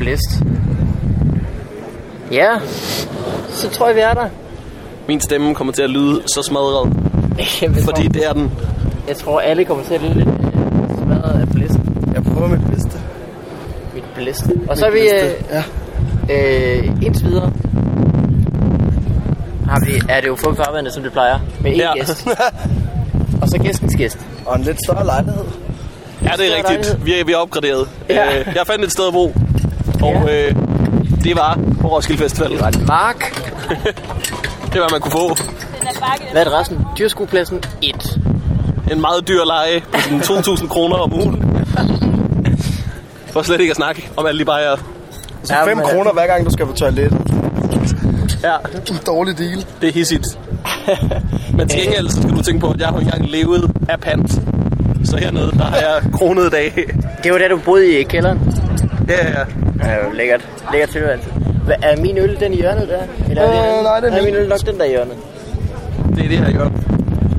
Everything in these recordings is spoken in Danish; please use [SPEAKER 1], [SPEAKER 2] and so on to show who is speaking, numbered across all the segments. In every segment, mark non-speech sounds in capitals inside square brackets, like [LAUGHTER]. [SPEAKER 1] list. Ja, så tror jeg, vi er der. [LAUGHS]
[SPEAKER 2] Min stemme kommer til at lyde så smadret,
[SPEAKER 1] Jeg
[SPEAKER 2] fordi
[SPEAKER 1] tror,
[SPEAKER 2] det er den.
[SPEAKER 1] jeg tror, alle kommer til at lyde lidt øh, smadret af blæst.
[SPEAKER 3] Jeg prøver mit bedste.
[SPEAKER 1] Mit blæst. Og så er vi øh,
[SPEAKER 3] Ja.
[SPEAKER 1] øh, indtil videre. Har vi, er det jo fået farvandet, som det plejer. Med én
[SPEAKER 2] Ja.
[SPEAKER 1] ja.
[SPEAKER 2] [LAUGHS]
[SPEAKER 1] gæst. Og så gæstens gæst.
[SPEAKER 3] Og en lidt større lejlighed.
[SPEAKER 2] Ja, det er
[SPEAKER 1] Stor
[SPEAKER 2] rigtigt.
[SPEAKER 1] lejlighed.
[SPEAKER 2] Vi er, vi er opgraderet.
[SPEAKER 1] Ja.
[SPEAKER 2] Øh, jeg fandt et sted at bo, og
[SPEAKER 1] Ja.
[SPEAKER 2] øh, det var på Roskilde Festival.
[SPEAKER 1] Og en mark.
[SPEAKER 2] Det var, man kunne få
[SPEAKER 1] Hvad er det resten? Dyrskuepladsen 1.
[SPEAKER 2] en meget dyr leje på
[SPEAKER 1] [LAUGHS]
[SPEAKER 2] sådan 2.000 kroner om ugen. For slet ikke at snakke om alle de bajer.
[SPEAKER 3] Så 5
[SPEAKER 1] men-
[SPEAKER 3] kroner hver gang du skal på toilettet.
[SPEAKER 2] Ja,
[SPEAKER 3] En dårlig deal.
[SPEAKER 2] det er hissigt.
[SPEAKER 1] [LAUGHS]
[SPEAKER 2] Men til gengæld så skal du tænke på, at jeg har jo engang levet af pant. Så hernede, der har jeg kronet dag.
[SPEAKER 1] Det var da, du boede i kælderen.
[SPEAKER 2] Ja, ja.
[SPEAKER 1] Ja, jo, lækkert. Lækkert til altid. Hvad, er min øl den i hjørnet der? Eller er
[SPEAKER 3] Øh,
[SPEAKER 1] det,
[SPEAKER 3] nej, den er
[SPEAKER 1] er min
[SPEAKER 3] min.
[SPEAKER 1] øl nok den der i hjørnet?
[SPEAKER 2] Det er det, jeg gør.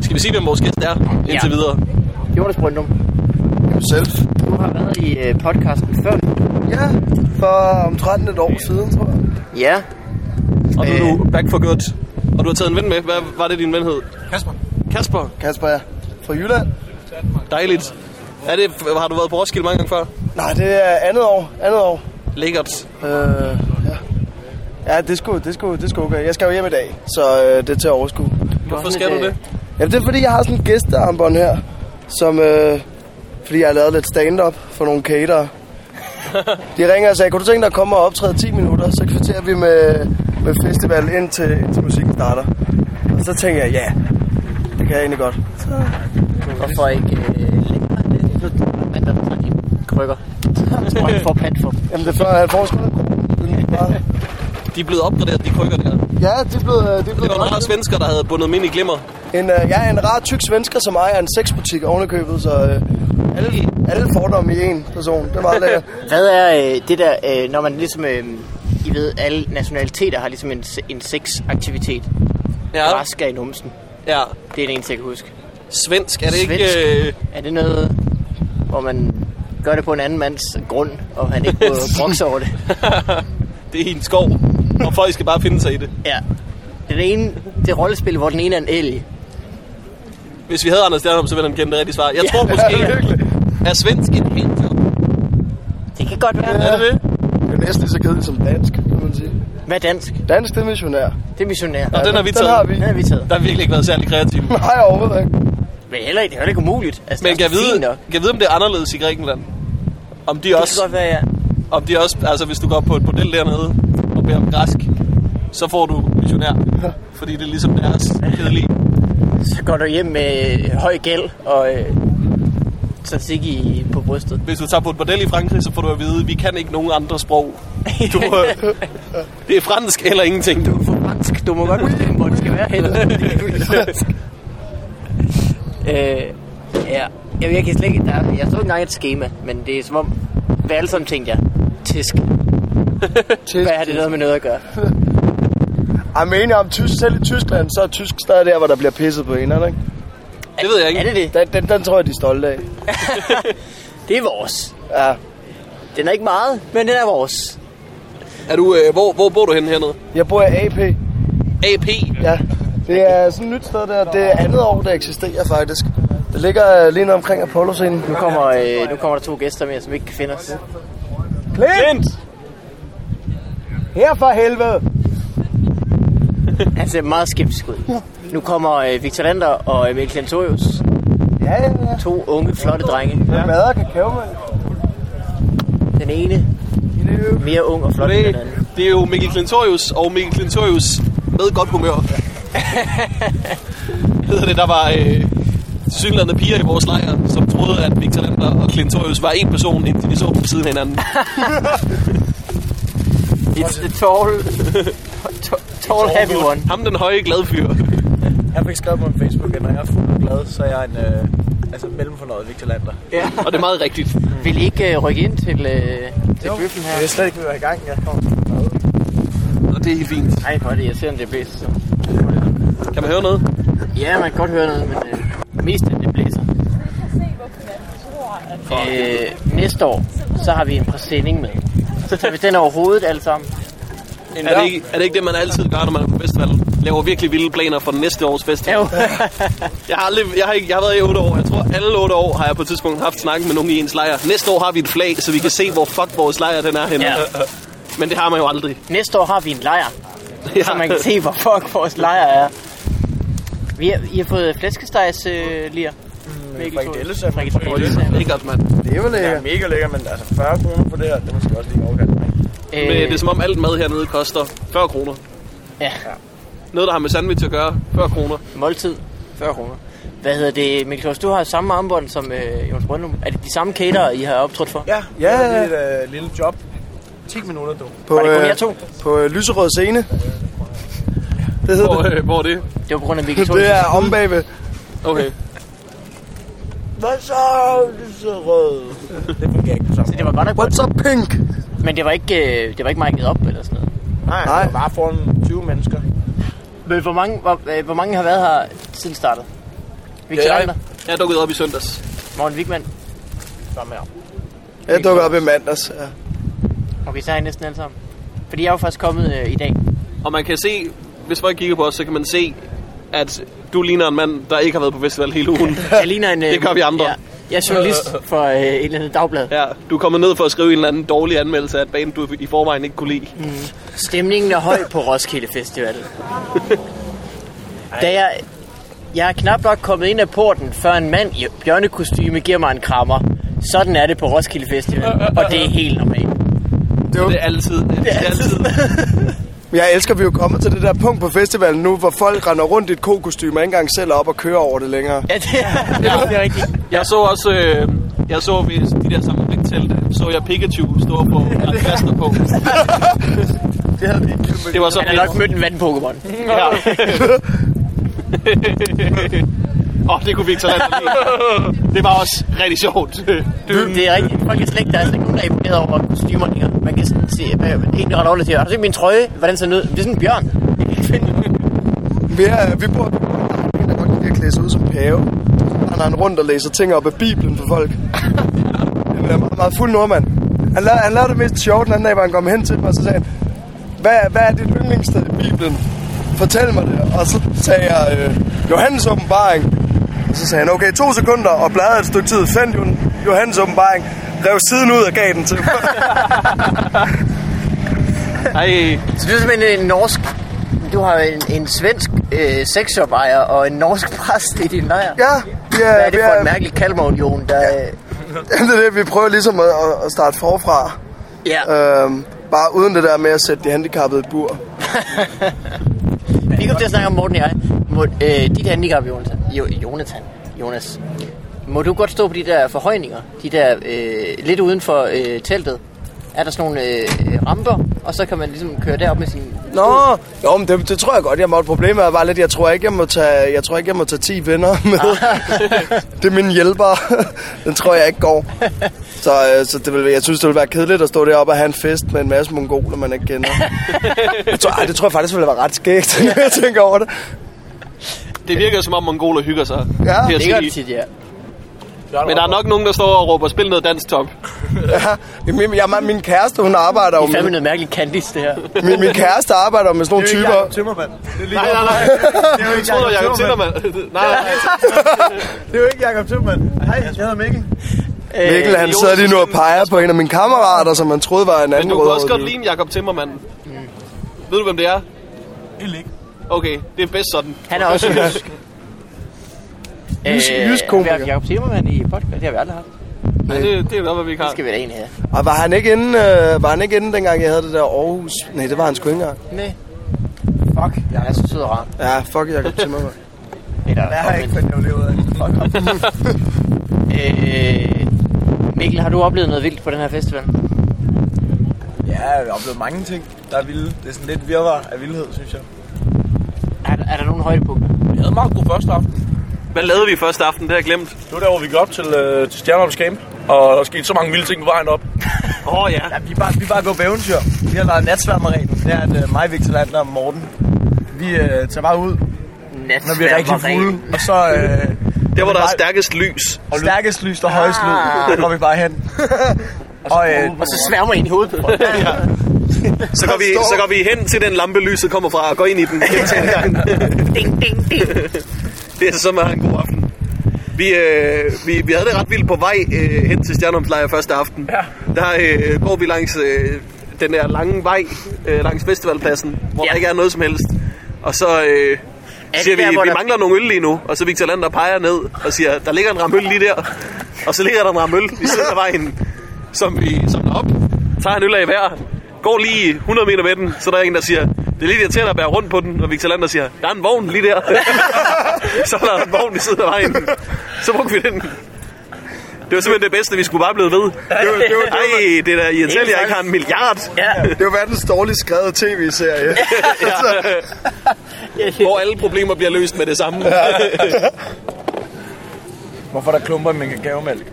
[SPEAKER 2] Skal vi sige, hvem vores gæst er indtil
[SPEAKER 1] Ja.
[SPEAKER 2] videre?
[SPEAKER 1] Jonas Brøndum,
[SPEAKER 3] Selv.
[SPEAKER 1] du har været i øh, podcasten før.
[SPEAKER 3] Ja, for omtrent et år siden, tror jeg.
[SPEAKER 1] Ja,
[SPEAKER 2] Og nu er du back for good. Og du har taget en ven med. Hvad var det, din ven hed? Kasper. Kasper,
[SPEAKER 3] Kasper, ja. Fra Jylland.
[SPEAKER 2] dejligt. Er det, har du været på Roskilde mange gange før?
[SPEAKER 3] Nej, det er andet år. Andet år.
[SPEAKER 2] Lækkert.
[SPEAKER 3] Øh, ja. Ja, det skulle, det skulle, det skulle okay. Jeg skal jo hjem i dag, så øh, det er til at overskue.
[SPEAKER 2] Hvorfor skal du det?
[SPEAKER 3] Jamen, det er fordi, jeg har sådan en gæstearmbånd her, som... Øh, fordi jeg har lavet lidt stand-up for nogle
[SPEAKER 2] [LAUGHS]
[SPEAKER 3] caterer. De ringer og sagde, kunne du tænke dig at komme og optræde 10 minutter, så kvarterer vi med, med festival indtil, indtil musikken starter. Og så tænker jeg, ja, det kan jeg egentlig godt.
[SPEAKER 1] Hvorfor ikke øh, lægge mig lidt i flyt- at der er sådan en krykker? Jeg tror, han får pant for. dem.
[SPEAKER 3] Jamen, det er før, han får sgu
[SPEAKER 2] [LAUGHS]
[SPEAKER 3] lidt den bare-
[SPEAKER 2] De er blevet opgraderet, de krykker der.
[SPEAKER 3] Ja, de er blevet... øh, De er
[SPEAKER 2] Det
[SPEAKER 3] blevet
[SPEAKER 2] var meget svensker, der havde bundet dem ind i glimmer.
[SPEAKER 3] En, øh, jeg er en rar tyk svensker, som ejer en sexbutik ovenikøbet, så øh, alle, alle fordomme i en person. Det er
[SPEAKER 2] [LAUGHS]
[SPEAKER 3] meget lækkert.
[SPEAKER 1] Hvad er øh, det der, øh, når man ligesom... Øh, I ved, alle nationaliteter har ligesom en, se- en sexaktivitet. Ja.
[SPEAKER 2] Ja,
[SPEAKER 1] Rask er i numsen.
[SPEAKER 2] ja.
[SPEAKER 1] Det er det eneste, jeg kan huske.
[SPEAKER 2] Svensk, er det ikke...
[SPEAKER 1] Svensk.
[SPEAKER 2] Øh,
[SPEAKER 1] Er det noget, hvor man gør det på en anden mands grund, og han ikke
[SPEAKER 2] [LAUGHS]
[SPEAKER 1] må brokse over det?
[SPEAKER 2] det er i en skov, og folk skal bare finde sig i det.
[SPEAKER 1] Ja. Det er det ene, det rollespil, hvor den ene er en elg.
[SPEAKER 2] Hvis vi havde Anders Stjernholm, så ville han kende det rigtige svar. Jeg tror
[SPEAKER 3] [LAUGHS] Ja,
[SPEAKER 2] måske,
[SPEAKER 3] virkelig.
[SPEAKER 2] er svensk et helt job?
[SPEAKER 1] Det kan godt være.
[SPEAKER 2] Er det det?
[SPEAKER 3] Det er næsten lige så kedeligt som dansk, kan man sige.
[SPEAKER 1] Hvad er dansk?
[SPEAKER 3] Dansk, det er missionær.
[SPEAKER 1] Det er missionær.
[SPEAKER 2] Og den har vi
[SPEAKER 3] den har
[SPEAKER 2] taget.
[SPEAKER 3] vi. [LAUGHS]
[SPEAKER 1] Den har vi taget.
[SPEAKER 2] Der har virkelig ikke været særlig kreativ.
[SPEAKER 3] Nej, overhovedet ikke.
[SPEAKER 1] Men heller ikke, det er heller ikke umuligt. Altså,
[SPEAKER 2] Men
[SPEAKER 1] det er
[SPEAKER 2] kan jeg, vide,
[SPEAKER 1] fint nok.
[SPEAKER 2] kan jeg vide, om det er anderledes i Grækenland? Om de
[SPEAKER 1] Det kan
[SPEAKER 2] også,
[SPEAKER 1] godt være, ja.
[SPEAKER 2] om de også, altså hvis du går på et bordel dernede og beder om græsk, så får du
[SPEAKER 1] [LAUGHS]
[SPEAKER 2] missionær. Fordi det er ligesom deres kedelige.
[SPEAKER 1] Så går du hjem med øh, høj gæld og øh, trafik i på brystet.
[SPEAKER 2] Hvis du tager på et bordel i Frankrig, så får du at vide, vi kan ikke nogen andre sprog. Du,
[SPEAKER 1] [LAUGHS]
[SPEAKER 2] øh, det er fransk eller ingenting. Du.
[SPEAKER 1] For fransk. Du må godt bestemme, hvor det skal være henne. øh, ja. Jeg, jeg kan slet ikke... Der, jeg så engang et schema, men det er som om... Hvad alle sammen tænkte jeg? Tisk. Hvad har det noget med noget at gøre?
[SPEAKER 3] Jeg mener, om tysk, selv i Tyskland, så er tysk stadig der, hvor der bliver pisset på hinanden, ikke?
[SPEAKER 2] Det ved jeg ikke.
[SPEAKER 1] Er det det?
[SPEAKER 3] Den, den, den tror jeg, de er stolte af.
[SPEAKER 1] Det er vores.
[SPEAKER 3] Ja.
[SPEAKER 1] Den er ikke meget, men den er vores.
[SPEAKER 2] Er du, øh, hvor, hvor bor du henne hernede?
[SPEAKER 3] Jeg bor i AP.
[SPEAKER 2] AP?
[SPEAKER 3] Ja. Det er sådan et nyt sted der. Det er andet år, det eksisterer faktisk. Det ligger øh, lige nede omkring Apollo-scenen.
[SPEAKER 1] Nu kommer, øh, nu kommer der to gæster mere, som ikke kan finde os.
[SPEAKER 2] Klint!
[SPEAKER 3] Her for helvede!
[SPEAKER 1] Han ser meget skeptisk ud. Nu kommer øh, Victor Lander og Emil Klentorius.
[SPEAKER 3] Ja, ja, ja.
[SPEAKER 1] To unge, flotte drenge.
[SPEAKER 3] Jeg mader kakao, mand.
[SPEAKER 1] Den ene mere ung og flot end den
[SPEAKER 2] Det,
[SPEAKER 1] anden.
[SPEAKER 2] det er jo Mikkel Klintorius, og Mikkel Klintorius med godt humør. Hedder det, der var øh, synlande piger i vores lejr, som troede, at Victor Lander og Klintorius var en person, indtil de så dem på siden af hinanden.
[SPEAKER 1] It's the tall, t- tall happy one.
[SPEAKER 2] Ham den høje, glade fyr.
[SPEAKER 4] Jeg fik skrevet på min Facebook, at når jeg er fuld og glad, så er jeg en øh, altså mellemfornøjet Victor Lander.
[SPEAKER 1] Ja.
[SPEAKER 2] Og det er meget rigtigt.
[SPEAKER 1] Vil I ikke øh, rykke ind til, øh, til bøffen her?
[SPEAKER 4] Jeg er slet ikke ved at være i gang. Jeg kommer.
[SPEAKER 2] Og det er helt fint.
[SPEAKER 1] Nej, hvor er det irriterende, det blæser.
[SPEAKER 2] Kan man høre noget?
[SPEAKER 1] Ja, man kan godt høre noget, men øh, mest at det blæser. Øh, næste år, så har vi en præsending med. så tager vi den over hovedet alle sammen.
[SPEAKER 2] Er det, ikke, er det ikke det, man altid gør, når man er på festival? Laver virkelig vilde planer for næste års festival.
[SPEAKER 1] Jo. [LAUGHS]
[SPEAKER 2] Jeg har, aldrig, jeg, har ikke, jeg har været i 8 år. Jeg tror, alle 8 år har jeg på et tidspunkt haft snakket med nogen i ens lejr. Næste år har vi et flag, så vi kan se, hvor fuck vores lejr den er henne.
[SPEAKER 1] Ja.
[SPEAKER 2] [LAUGHS] Men det har man jo aldrig.
[SPEAKER 1] Næste år har vi en lejr,
[SPEAKER 2] Ja.
[SPEAKER 1] så man kan se, hvor fuck vores lejr er. Vi har, I har fået flæskestegs øh, lir.
[SPEAKER 4] frikadellesemmer.
[SPEAKER 1] Frikadellesemmer.
[SPEAKER 2] Lækkert, mand.
[SPEAKER 3] Det er vel øh,
[SPEAKER 4] Det er
[SPEAKER 3] lækkert.
[SPEAKER 4] mega lækker, men altså 40 kroner for det her, det er måske også lige overkant.
[SPEAKER 1] Øh,
[SPEAKER 2] Men det er som om alt mad hernede koster 40 kroner.
[SPEAKER 1] Ja,
[SPEAKER 2] Noget, der har med sandwich at gøre, 40 kroner.
[SPEAKER 1] måltid.
[SPEAKER 4] 40 kroner.
[SPEAKER 1] Hvad hedder det, Mikkel Klaus, du har samme armbånd som øh, Jonas Brøndum. Er det de samme caterer, I har optrådt for?
[SPEAKER 4] Ja,
[SPEAKER 3] Ja,
[SPEAKER 4] ja.
[SPEAKER 3] ja, ja.
[SPEAKER 4] Det er et øh, lille job. 10 minutter, du.
[SPEAKER 3] På,
[SPEAKER 1] Var det kun jer to?
[SPEAKER 3] på øh, Lyserød Scene. Det hedder
[SPEAKER 2] Hvor,
[SPEAKER 3] det.
[SPEAKER 2] øh, hvor er det?
[SPEAKER 1] [LAUGHS] Det var på grund af Mikkel
[SPEAKER 3] Det er
[SPEAKER 1] Thorsen.
[SPEAKER 3] om bagved.
[SPEAKER 2] Okay.
[SPEAKER 4] Hvad så, lyserød? det fungerer ikke på samme
[SPEAKER 1] Det var godt nok godt.
[SPEAKER 3] What's up, Pink?
[SPEAKER 1] Men det var ikke, øh, det var ikke mic'et op eller sådan noget.
[SPEAKER 3] Nej.
[SPEAKER 4] Nej, Nej. Det var bare foran 20 mennesker.
[SPEAKER 1] Men hvor mange, hvor, øh, hvor mange har været her siden startet? Vi
[SPEAKER 2] Ja,
[SPEAKER 1] kender
[SPEAKER 2] jeg, jeg dukkede op i søndags.
[SPEAKER 1] Morten Wigman.
[SPEAKER 4] Samme her.
[SPEAKER 3] Jeg dukker op i mandags. Ja.
[SPEAKER 1] Okay, så har I næsten alle sammen. Fordi jeg er jo først kommet øh, i [LAUGHS] dag.
[SPEAKER 2] Og man kan se, hvis folk kigger på os, så kan man se, at du ligner en mand, der ikke har været på festival hele [LAUGHS] ugen.
[SPEAKER 1] Jeg ligner en... Øh,
[SPEAKER 2] Det gør vi andre.
[SPEAKER 1] Ja, jeg er journalist for øh, et eller andet dagblad.
[SPEAKER 2] Ja, du er kommet ned for at skrive en eller anden dårlig anmeldelse af et band, du i forvejen ikke kunne lide.
[SPEAKER 1] Stemningen er høj på Roskilde Festival. da jeg, jeg er knap nok kommet ind ad porten, før en mand i bjørnekostyme giver mig en krammer. Sådan er det på Roskilde Festival, og det er helt normalt.
[SPEAKER 3] Det var,
[SPEAKER 2] Det er altid. Det er altid.
[SPEAKER 3] jeg elsker, at vi er jo kommet til det der punkt på festivalen nu, hvor folk render rundt i et kokostyme og ikke engang selv er op og kører over det længere.
[SPEAKER 1] Ja, det er, ja, det er rigtigt.
[SPEAKER 2] Jeg så også, øh, jeg så ved de der samme telte, så jeg Pikachu stå på og plaster på.
[SPEAKER 3] Det havde vi ikke
[SPEAKER 2] Det var så
[SPEAKER 1] Han har nok mødt en vand-Pokémon.
[SPEAKER 2] Ja. [LAUGHS] Åh, oh, det kunne vi ikke så lade Det var også rigtig sjovt.
[SPEAKER 1] Det er rigtigt. Folk er slet ikke, der er slet ikke nogen, der er imponeret over kostymerne. ikke? Man kan sådan se, hvad- en ret ordentligt siger, har du set min trøje? Hvordan ser den ud? Det er sådan en bjørn. Jeg kan ikke finde den.
[SPEAKER 3] Vi, er, vi bor en, der godt kan lide at klæde sig ud som pave. Han render rundt og læser ting op af Bibelen for folk. Han er meget, meget fuld nordmand. Han lavede, han lavede det mest sjovt den anden dag, hvor han kom hen til mig, og så sagde han, hvad, hvad er dit yndlingssted i Bibelen? Fortæl mig det. Og så sagde jeg, øh, Johannes åbenbaring. Og så sagde han, okay, to sekunder, og bladrede et stykke tid, fandt jo Johannes åbenbaring, rev siden ud og gav den til mig.
[SPEAKER 2] Ej,
[SPEAKER 1] Så du er simpelthen en norsk... Du har en, en svensk øh, sexshop-ejer og en norsk præst i din lejr.
[SPEAKER 3] ja, ja,
[SPEAKER 1] Hvad er det for en mærkelig kalmarunion, der... øh,
[SPEAKER 3] [LAUGHS] Det er det, vi prøver ligesom at, at- at starte forfra.
[SPEAKER 1] Ja,
[SPEAKER 3] Øhm, bare uden det der med at sætte de handicappede i bur.
[SPEAKER 1] vi kom til at snakke om Morten og jeg. Må, øh, dit handicap, Jonathan. Jo, Jonathan. Jonas. Må du godt stå på de der forhøjninger? De der øh, lidt uden for øh, teltet? Er der sådan nogle øh, ramper, og så kan man ligesom køre derop med sin...
[SPEAKER 3] Nå, jo, men det, det, tror jeg godt, jeg måtte. Problemet er bare lidt, jeg tror ikke, jeg må tage, jeg tror ikke, jeg må tage 10 venner med. [LAUGHS] det er mine hjælpere. Den tror jeg ikke går. Så, øh, så det vil, jeg synes, det ville være kedeligt at stå deroppe og have en fest med en masse mongoler, man ikke [LAUGHS] kender. jeg tror, ej, det tror jeg faktisk ville være ret skægt, [LAUGHS] når jeg tænker over det.
[SPEAKER 2] det virker som om mongoler hygger sig.
[SPEAKER 3] Ja,
[SPEAKER 2] vil jeg
[SPEAKER 1] Det gør
[SPEAKER 2] sige.
[SPEAKER 1] det tit, ja.
[SPEAKER 2] Men der er nok nogen, der står og råber, spil noget dansk top.
[SPEAKER 3] Ja, min, jeg, min kæreste, hun arbejder jo
[SPEAKER 1] Det er fandme
[SPEAKER 3] med,
[SPEAKER 1] noget mærkeligt Candice, det her.
[SPEAKER 3] min, min kæreste arbejder jo med sådan nogle typer.
[SPEAKER 4] Tømmermand. Det er lige
[SPEAKER 2] Nej, nej, nej.
[SPEAKER 4] Det er jo
[SPEAKER 2] Jeg troede, det var Jacob Timmermann. Nej, nej.
[SPEAKER 4] Det er jo ikke Jacob Tømmermand. Hej, jeg hedder Mikkel.
[SPEAKER 3] Mikkel, han
[SPEAKER 2] Jonas
[SPEAKER 3] sidder lige nu og peger på en af mine kammerater, som han troede var en
[SPEAKER 2] Men
[SPEAKER 3] anden
[SPEAKER 2] du kunne også
[SPEAKER 3] rød.
[SPEAKER 2] godt ligne Jacob Timmermann. Ved du, hvem det er?
[SPEAKER 4] Helt ikke.
[SPEAKER 2] Okay, det er bedst sådan.
[SPEAKER 1] Han er også
[SPEAKER 3] [LAUGHS]
[SPEAKER 1] jysk.
[SPEAKER 3] Jysk- jysk komiker.
[SPEAKER 1] Vi har Jacob Timmermann i podcast, det har vi aldrig haft.
[SPEAKER 2] Ja, det, det er nok, hvad vi ikke
[SPEAKER 1] Det
[SPEAKER 2] har.
[SPEAKER 1] skal vi da egentlig have.
[SPEAKER 3] Og var han ikke inde, øh, var han ikke inde dengang, jeg havde det der Aarhus? Nej, det var han sgu ikke engang.
[SPEAKER 1] Nej. Fuck, jeg er så sød og rar.
[SPEAKER 3] Ja, fuck Jacob Timmermann.
[SPEAKER 1] Eller,
[SPEAKER 4] Jeg har ikke
[SPEAKER 1] omvendt.
[SPEAKER 4] fandt det ud af.
[SPEAKER 1] øh, Mikkel, har du oplevet noget vildt på den her festival?
[SPEAKER 4] Ja, jeg har oplevet mange ting, der er vilde. Det er sådan lidt virvar af vildhed, synes jeg.
[SPEAKER 1] Er, der- er der nogen højdepunkter?
[SPEAKER 4] Vi havde en meget god første aften.
[SPEAKER 2] Hvad lavede vi første aften? Det har jeg glemt.
[SPEAKER 5] Det var der, hvor vi gik op til, øh, til Stjerneops Camp, og der skete så mange vilde ting på vejen op.
[SPEAKER 2] Åh oh, ja.
[SPEAKER 4] Ja, vi er bare, vi er bare gået på eventyr. Vi har lavet natsværmeren. Det er, at øh, mig, Victor Lander og Morten, vi øh, tager bare ud,
[SPEAKER 1] Nat,
[SPEAKER 4] når vi er rigtig fulde. Og så øh,
[SPEAKER 2] Der, hvor der er
[SPEAKER 4] bare-
[SPEAKER 2] stærkest lys.
[SPEAKER 4] stærkest lys og højest lyd,
[SPEAKER 1] Ah.
[SPEAKER 4] der går vi bare hen. Og, øh,
[SPEAKER 1] Og så sværmer ind i hovedet på folk.
[SPEAKER 2] Så går, vi, så går vi hen til den lampe, lyset kommer fra, og går ind i den.
[SPEAKER 1] [LAUGHS] ding, ding, ding.
[SPEAKER 2] Det er så meget en god aften. Vi, øh, vi, vi havde det ret vildt på vej øh, hen til Stjernholmslejr første aften. Ja. Der øh, går vi langs øh, den der lange vej, øh, langs festivalpladsen, hvor ja.
[SPEAKER 1] Ja.
[SPEAKER 2] der ikke er noget som helst. Og så øh, siger vi,
[SPEAKER 1] der, hvor
[SPEAKER 2] vi
[SPEAKER 1] der-
[SPEAKER 2] mangler nogle øl lige nu. Og så Victor Lander peger ned og siger, der ligger en ramme øl lige der. Og så ligger der en ramme øl i siden af vejen, som vi samler op, tager en øl af hver, går lige 100 meter med den, så der er en, der siger, det er lidt irriterende at bære rundt på den, og Victor Lander siger, der er en vogn lige der. [LAUGHS] så er der en vogn i siden af vejen. Så brugte vi den. Det var simpelthen det bedste, vi skulle bare blive ved.
[SPEAKER 3] [LAUGHS] Det var, det var, det var,
[SPEAKER 2] Ej, det er da irriterende, at jeg ikke har en milliard.
[SPEAKER 1] Ja.
[SPEAKER 3] det var verdens dårligst skrevet
[SPEAKER 2] [LAUGHS]
[SPEAKER 3] tv-serie. Altså. [LAUGHS]
[SPEAKER 2] Hvor alle problemer bliver løst med det samme.
[SPEAKER 4] hvorfor er der klumper i min kakaomælk?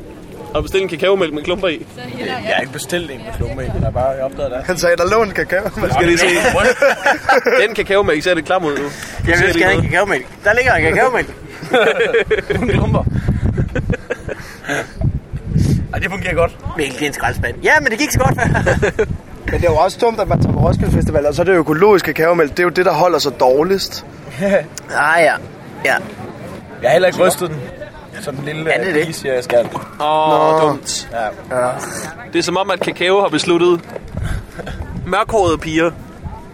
[SPEAKER 2] Og bestille en kakaomælk med klumper i.
[SPEAKER 4] Jeg har ikke bestilt en med klumper i, men jeg har bare opdaget det.
[SPEAKER 3] [LAUGHS] Han sagde, der lå en kakao.
[SPEAKER 2] Skal lige
[SPEAKER 4] [LAUGHS]
[SPEAKER 2] se. Den kakaomælk ser lidt klam ud nu.
[SPEAKER 1] Jeg vil skal have en kakaomælk. Der ligger en kakaomælk.
[SPEAKER 4] klumper. Ej, det fungerer godt.
[SPEAKER 1] Mælk, det er en skraldspand. Ja, men det gik så godt før.
[SPEAKER 3] Men det er jo også dumt, at man tager på Roskilde Festival, og så er det økologisk kakaomælk. Det er jo det, der holder sig dårligst.
[SPEAKER 1] ah, ja. Ja.
[SPEAKER 4] Jeg har heller ikke rystet den. Sådan en lille
[SPEAKER 1] Ja, det er det.
[SPEAKER 4] is, jeg skal.
[SPEAKER 2] Åh, oh, dumt.
[SPEAKER 4] Ja.
[SPEAKER 2] Det er som om, at kakao har besluttet. Mørkhårede piger.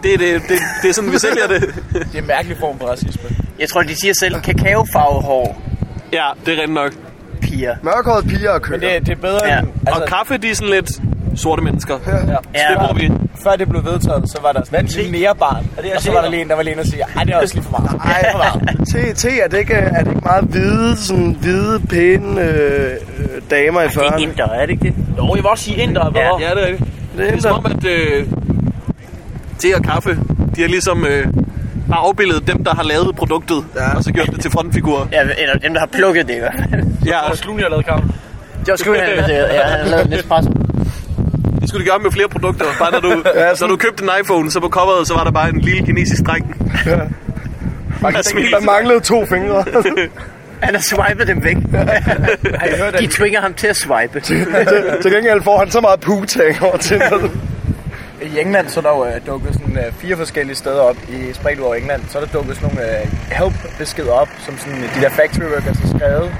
[SPEAKER 2] Det er, det, det, det er sådan, vi sælger det.
[SPEAKER 4] Det er en mærkelig form for racisme.
[SPEAKER 1] Jeg tror, de siger selv kakaofarvehår,
[SPEAKER 2] Ja, det er rent nok.
[SPEAKER 1] piger.
[SPEAKER 3] Mørkhåret piger og køer.
[SPEAKER 4] Men det, det er bedre
[SPEAKER 1] Ja.
[SPEAKER 4] ja. end... altså,
[SPEAKER 2] Og kaffe, de er sådan lidt sorte mennesker.
[SPEAKER 4] ja.
[SPEAKER 2] Så det bruger vi.
[SPEAKER 4] Før det blev vedtaget, så var der sådan en mere barn. Og, det, og så var der lige en, der var lige inde og sige, ej, det er også lige for meget.
[SPEAKER 3] Ej, te, te er, det ikke, er det ikke meget hvide, sådan hvide, pæne øh, øh, damer i 40'erne?
[SPEAKER 1] Inder, er det ikke det?
[SPEAKER 6] Jo, jeg vil også sige indre, hvor...
[SPEAKER 2] Ja, det er rigtigt.
[SPEAKER 3] Det
[SPEAKER 2] Det er
[SPEAKER 3] er
[SPEAKER 2] som om, at øh, te og kaffe, de har ligesom øh, bare afbildet dem, der har lavet produktet, ja. og så gjort det til frontfigurer.
[SPEAKER 1] Ja, eller dem, der har plukket det i hvert fald.
[SPEAKER 2] Ja,
[SPEAKER 5] Og Sluni har lavet kamp.
[SPEAKER 1] Det var sgu en anden, ja, han har lavet en espresso.
[SPEAKER 2] det skulle de gøre med flere produkter. Bare når du, [LAUGHS] ja, når du købte en iPhone, så på coveret, så var der bare en lille kinesisk dreng. Ja. Der smilte.
[SPEAKER 3] Der manglede to [LAUGHS] fingre.
[SPEAKER 1] Han har swipet dem væk. De tvinger ham til at swipe.
[SPEAKER 3] til, til gengæld får han så meget putang over til noget.
[SPEAKER 4] I England så er der jo øh, dukket sådan, øh, fire forskellige steder op i spredt ud over England. Så er der dukket sådan nogle øh, help-beskeder op, som sådan, øh, de der factory workers har skrevet.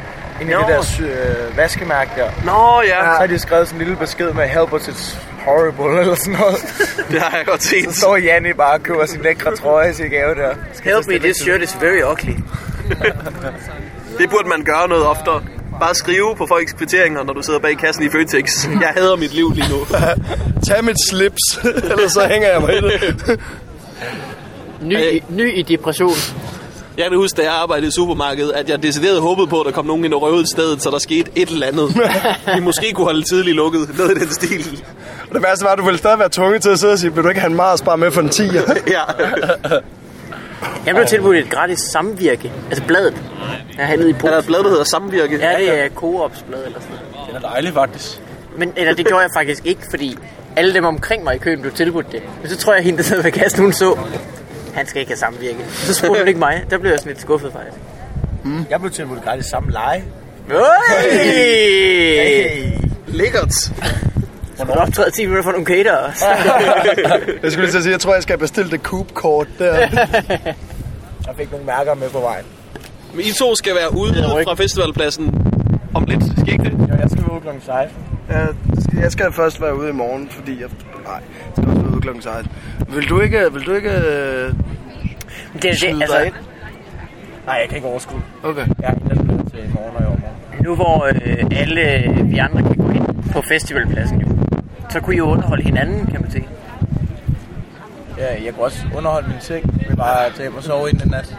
[SPEAKER 4] Ind i
[SPEAKER 2] Nå.
[SPEAKER 4] det der sy- øh, vaskemærke der.
[SPEAKER 2] Nå ja,
[SPEAKER 4] Så har de skrevet sådan en lille besked med help us it's horrible [LAUGHS] eller sådan noget.
[SPEAKER 2] det har jeg godt set.
[SPEAKER 4] Så står Janni bare og køber sin lækre trøje til gave der. Skal
[SPEAKER 1] Help me, this shirt is very ugly.
[SPEAKER 2] [LAUGHS] Det burde man gøre noget oftere. Bare skrive på folks kvitteringer, når du sidder bag kassen i [LAUGHS] Føtex. Jeg hader mit liv lige nu.
[SPEAKER 3] Tag mit slips, ellers så hænger jeg mig i det.
[SPEAKER 1] Ny, i- ny i depression.
[SPEAKER 2] Jeg kan huske, da jeg arbejdede i supermarkedet, at jeg decideret håbede på, at der kom nogen ind og røvede stedet, så der skete et eller [LAUGHS] andet. Vi måske kunne holde tidligt lukket. Noget i den stil.
[SPEAKER 3] Og det værste var, at du ville stadig være tvunget til at sidde og sige, vil du ikke have en meget spare med for en 10'er?
[SPEAKER 2] Ja.
[SPEAKER 1] Jeg blev tilbudt et gratis samvirke. Altså bladet. Jeg har nede i
[SPEAKER 2] Er der et
[SPEAKER 1] posen.
[SPEAKER 2] blad, der hedder Samvirke?
[SPEAKER 1] Ja, det er Coops blad eller sådan noget.
[SPEAKER 5] Den er dejlig, faktisk.
[SPEAKER 1] Men eller, det gjorde jeg faktisk ikke, fordi alle dem omkring mig i køen blev tilbudt det. Men så tror jeg, at hende, der sad ved kassen, hun så, han skal ikke have samvirke. Så spurgte hun ikke mig. Der blev jeg sådan lidt skuffet, faktisk.
[SPEAKER 4] Jeg blev tilbudt gratis samme leje.
[SPEAKER 1] Hey!
[SPEAKER 2] Lækkert.
[SPEAKER 1] Skal du optræde 10 minutter for nogle caterer?
[SPEAKER 3] Jeg skulle lige til at sige, jeg tror, jeg skal bestille det Coop-kort der.
[SPEAKER 4] Jeg fik nogle mærker med på vejen.
[SPEAKER 2] Men I to skal være ude
[SPEAKER 1] ryg.
[SPEAKER 2] fra festivalpladsen om lidt. Skal I ikke det?
[SPEAKER 4] Jo, jeg skal være ude klokken 16.
[SPEAKER 3] Jeg skal, jeg skal først være ude i morgen, fordi jeg... Nej, jeg skal også være ude klokken 16. Vil du ikke... Vil du ikke... øh,
[SPEAKER 1] Det, det,
[SPEAKER 3] skyde dig
[SPEAKER 1] altså,
[SPEAKER 3] ind?
[SPEAKER 4] Nej, jeg kan ikke overskue.
[SPEAKER 3] Okay.
[SPEAKER 4] Jeg er helt nødt til i morgen og i overmorgen.
[SPEAKER 1] nu hvor øh, alle vi andre kan gå ind på festivalpladsen, jo, så kunne I jo underholde hinanden, kan man sige.
[SPEAKER 4] Ja, jeg kunne også underholde min ting med bare at tage hjem og sove ind den nat.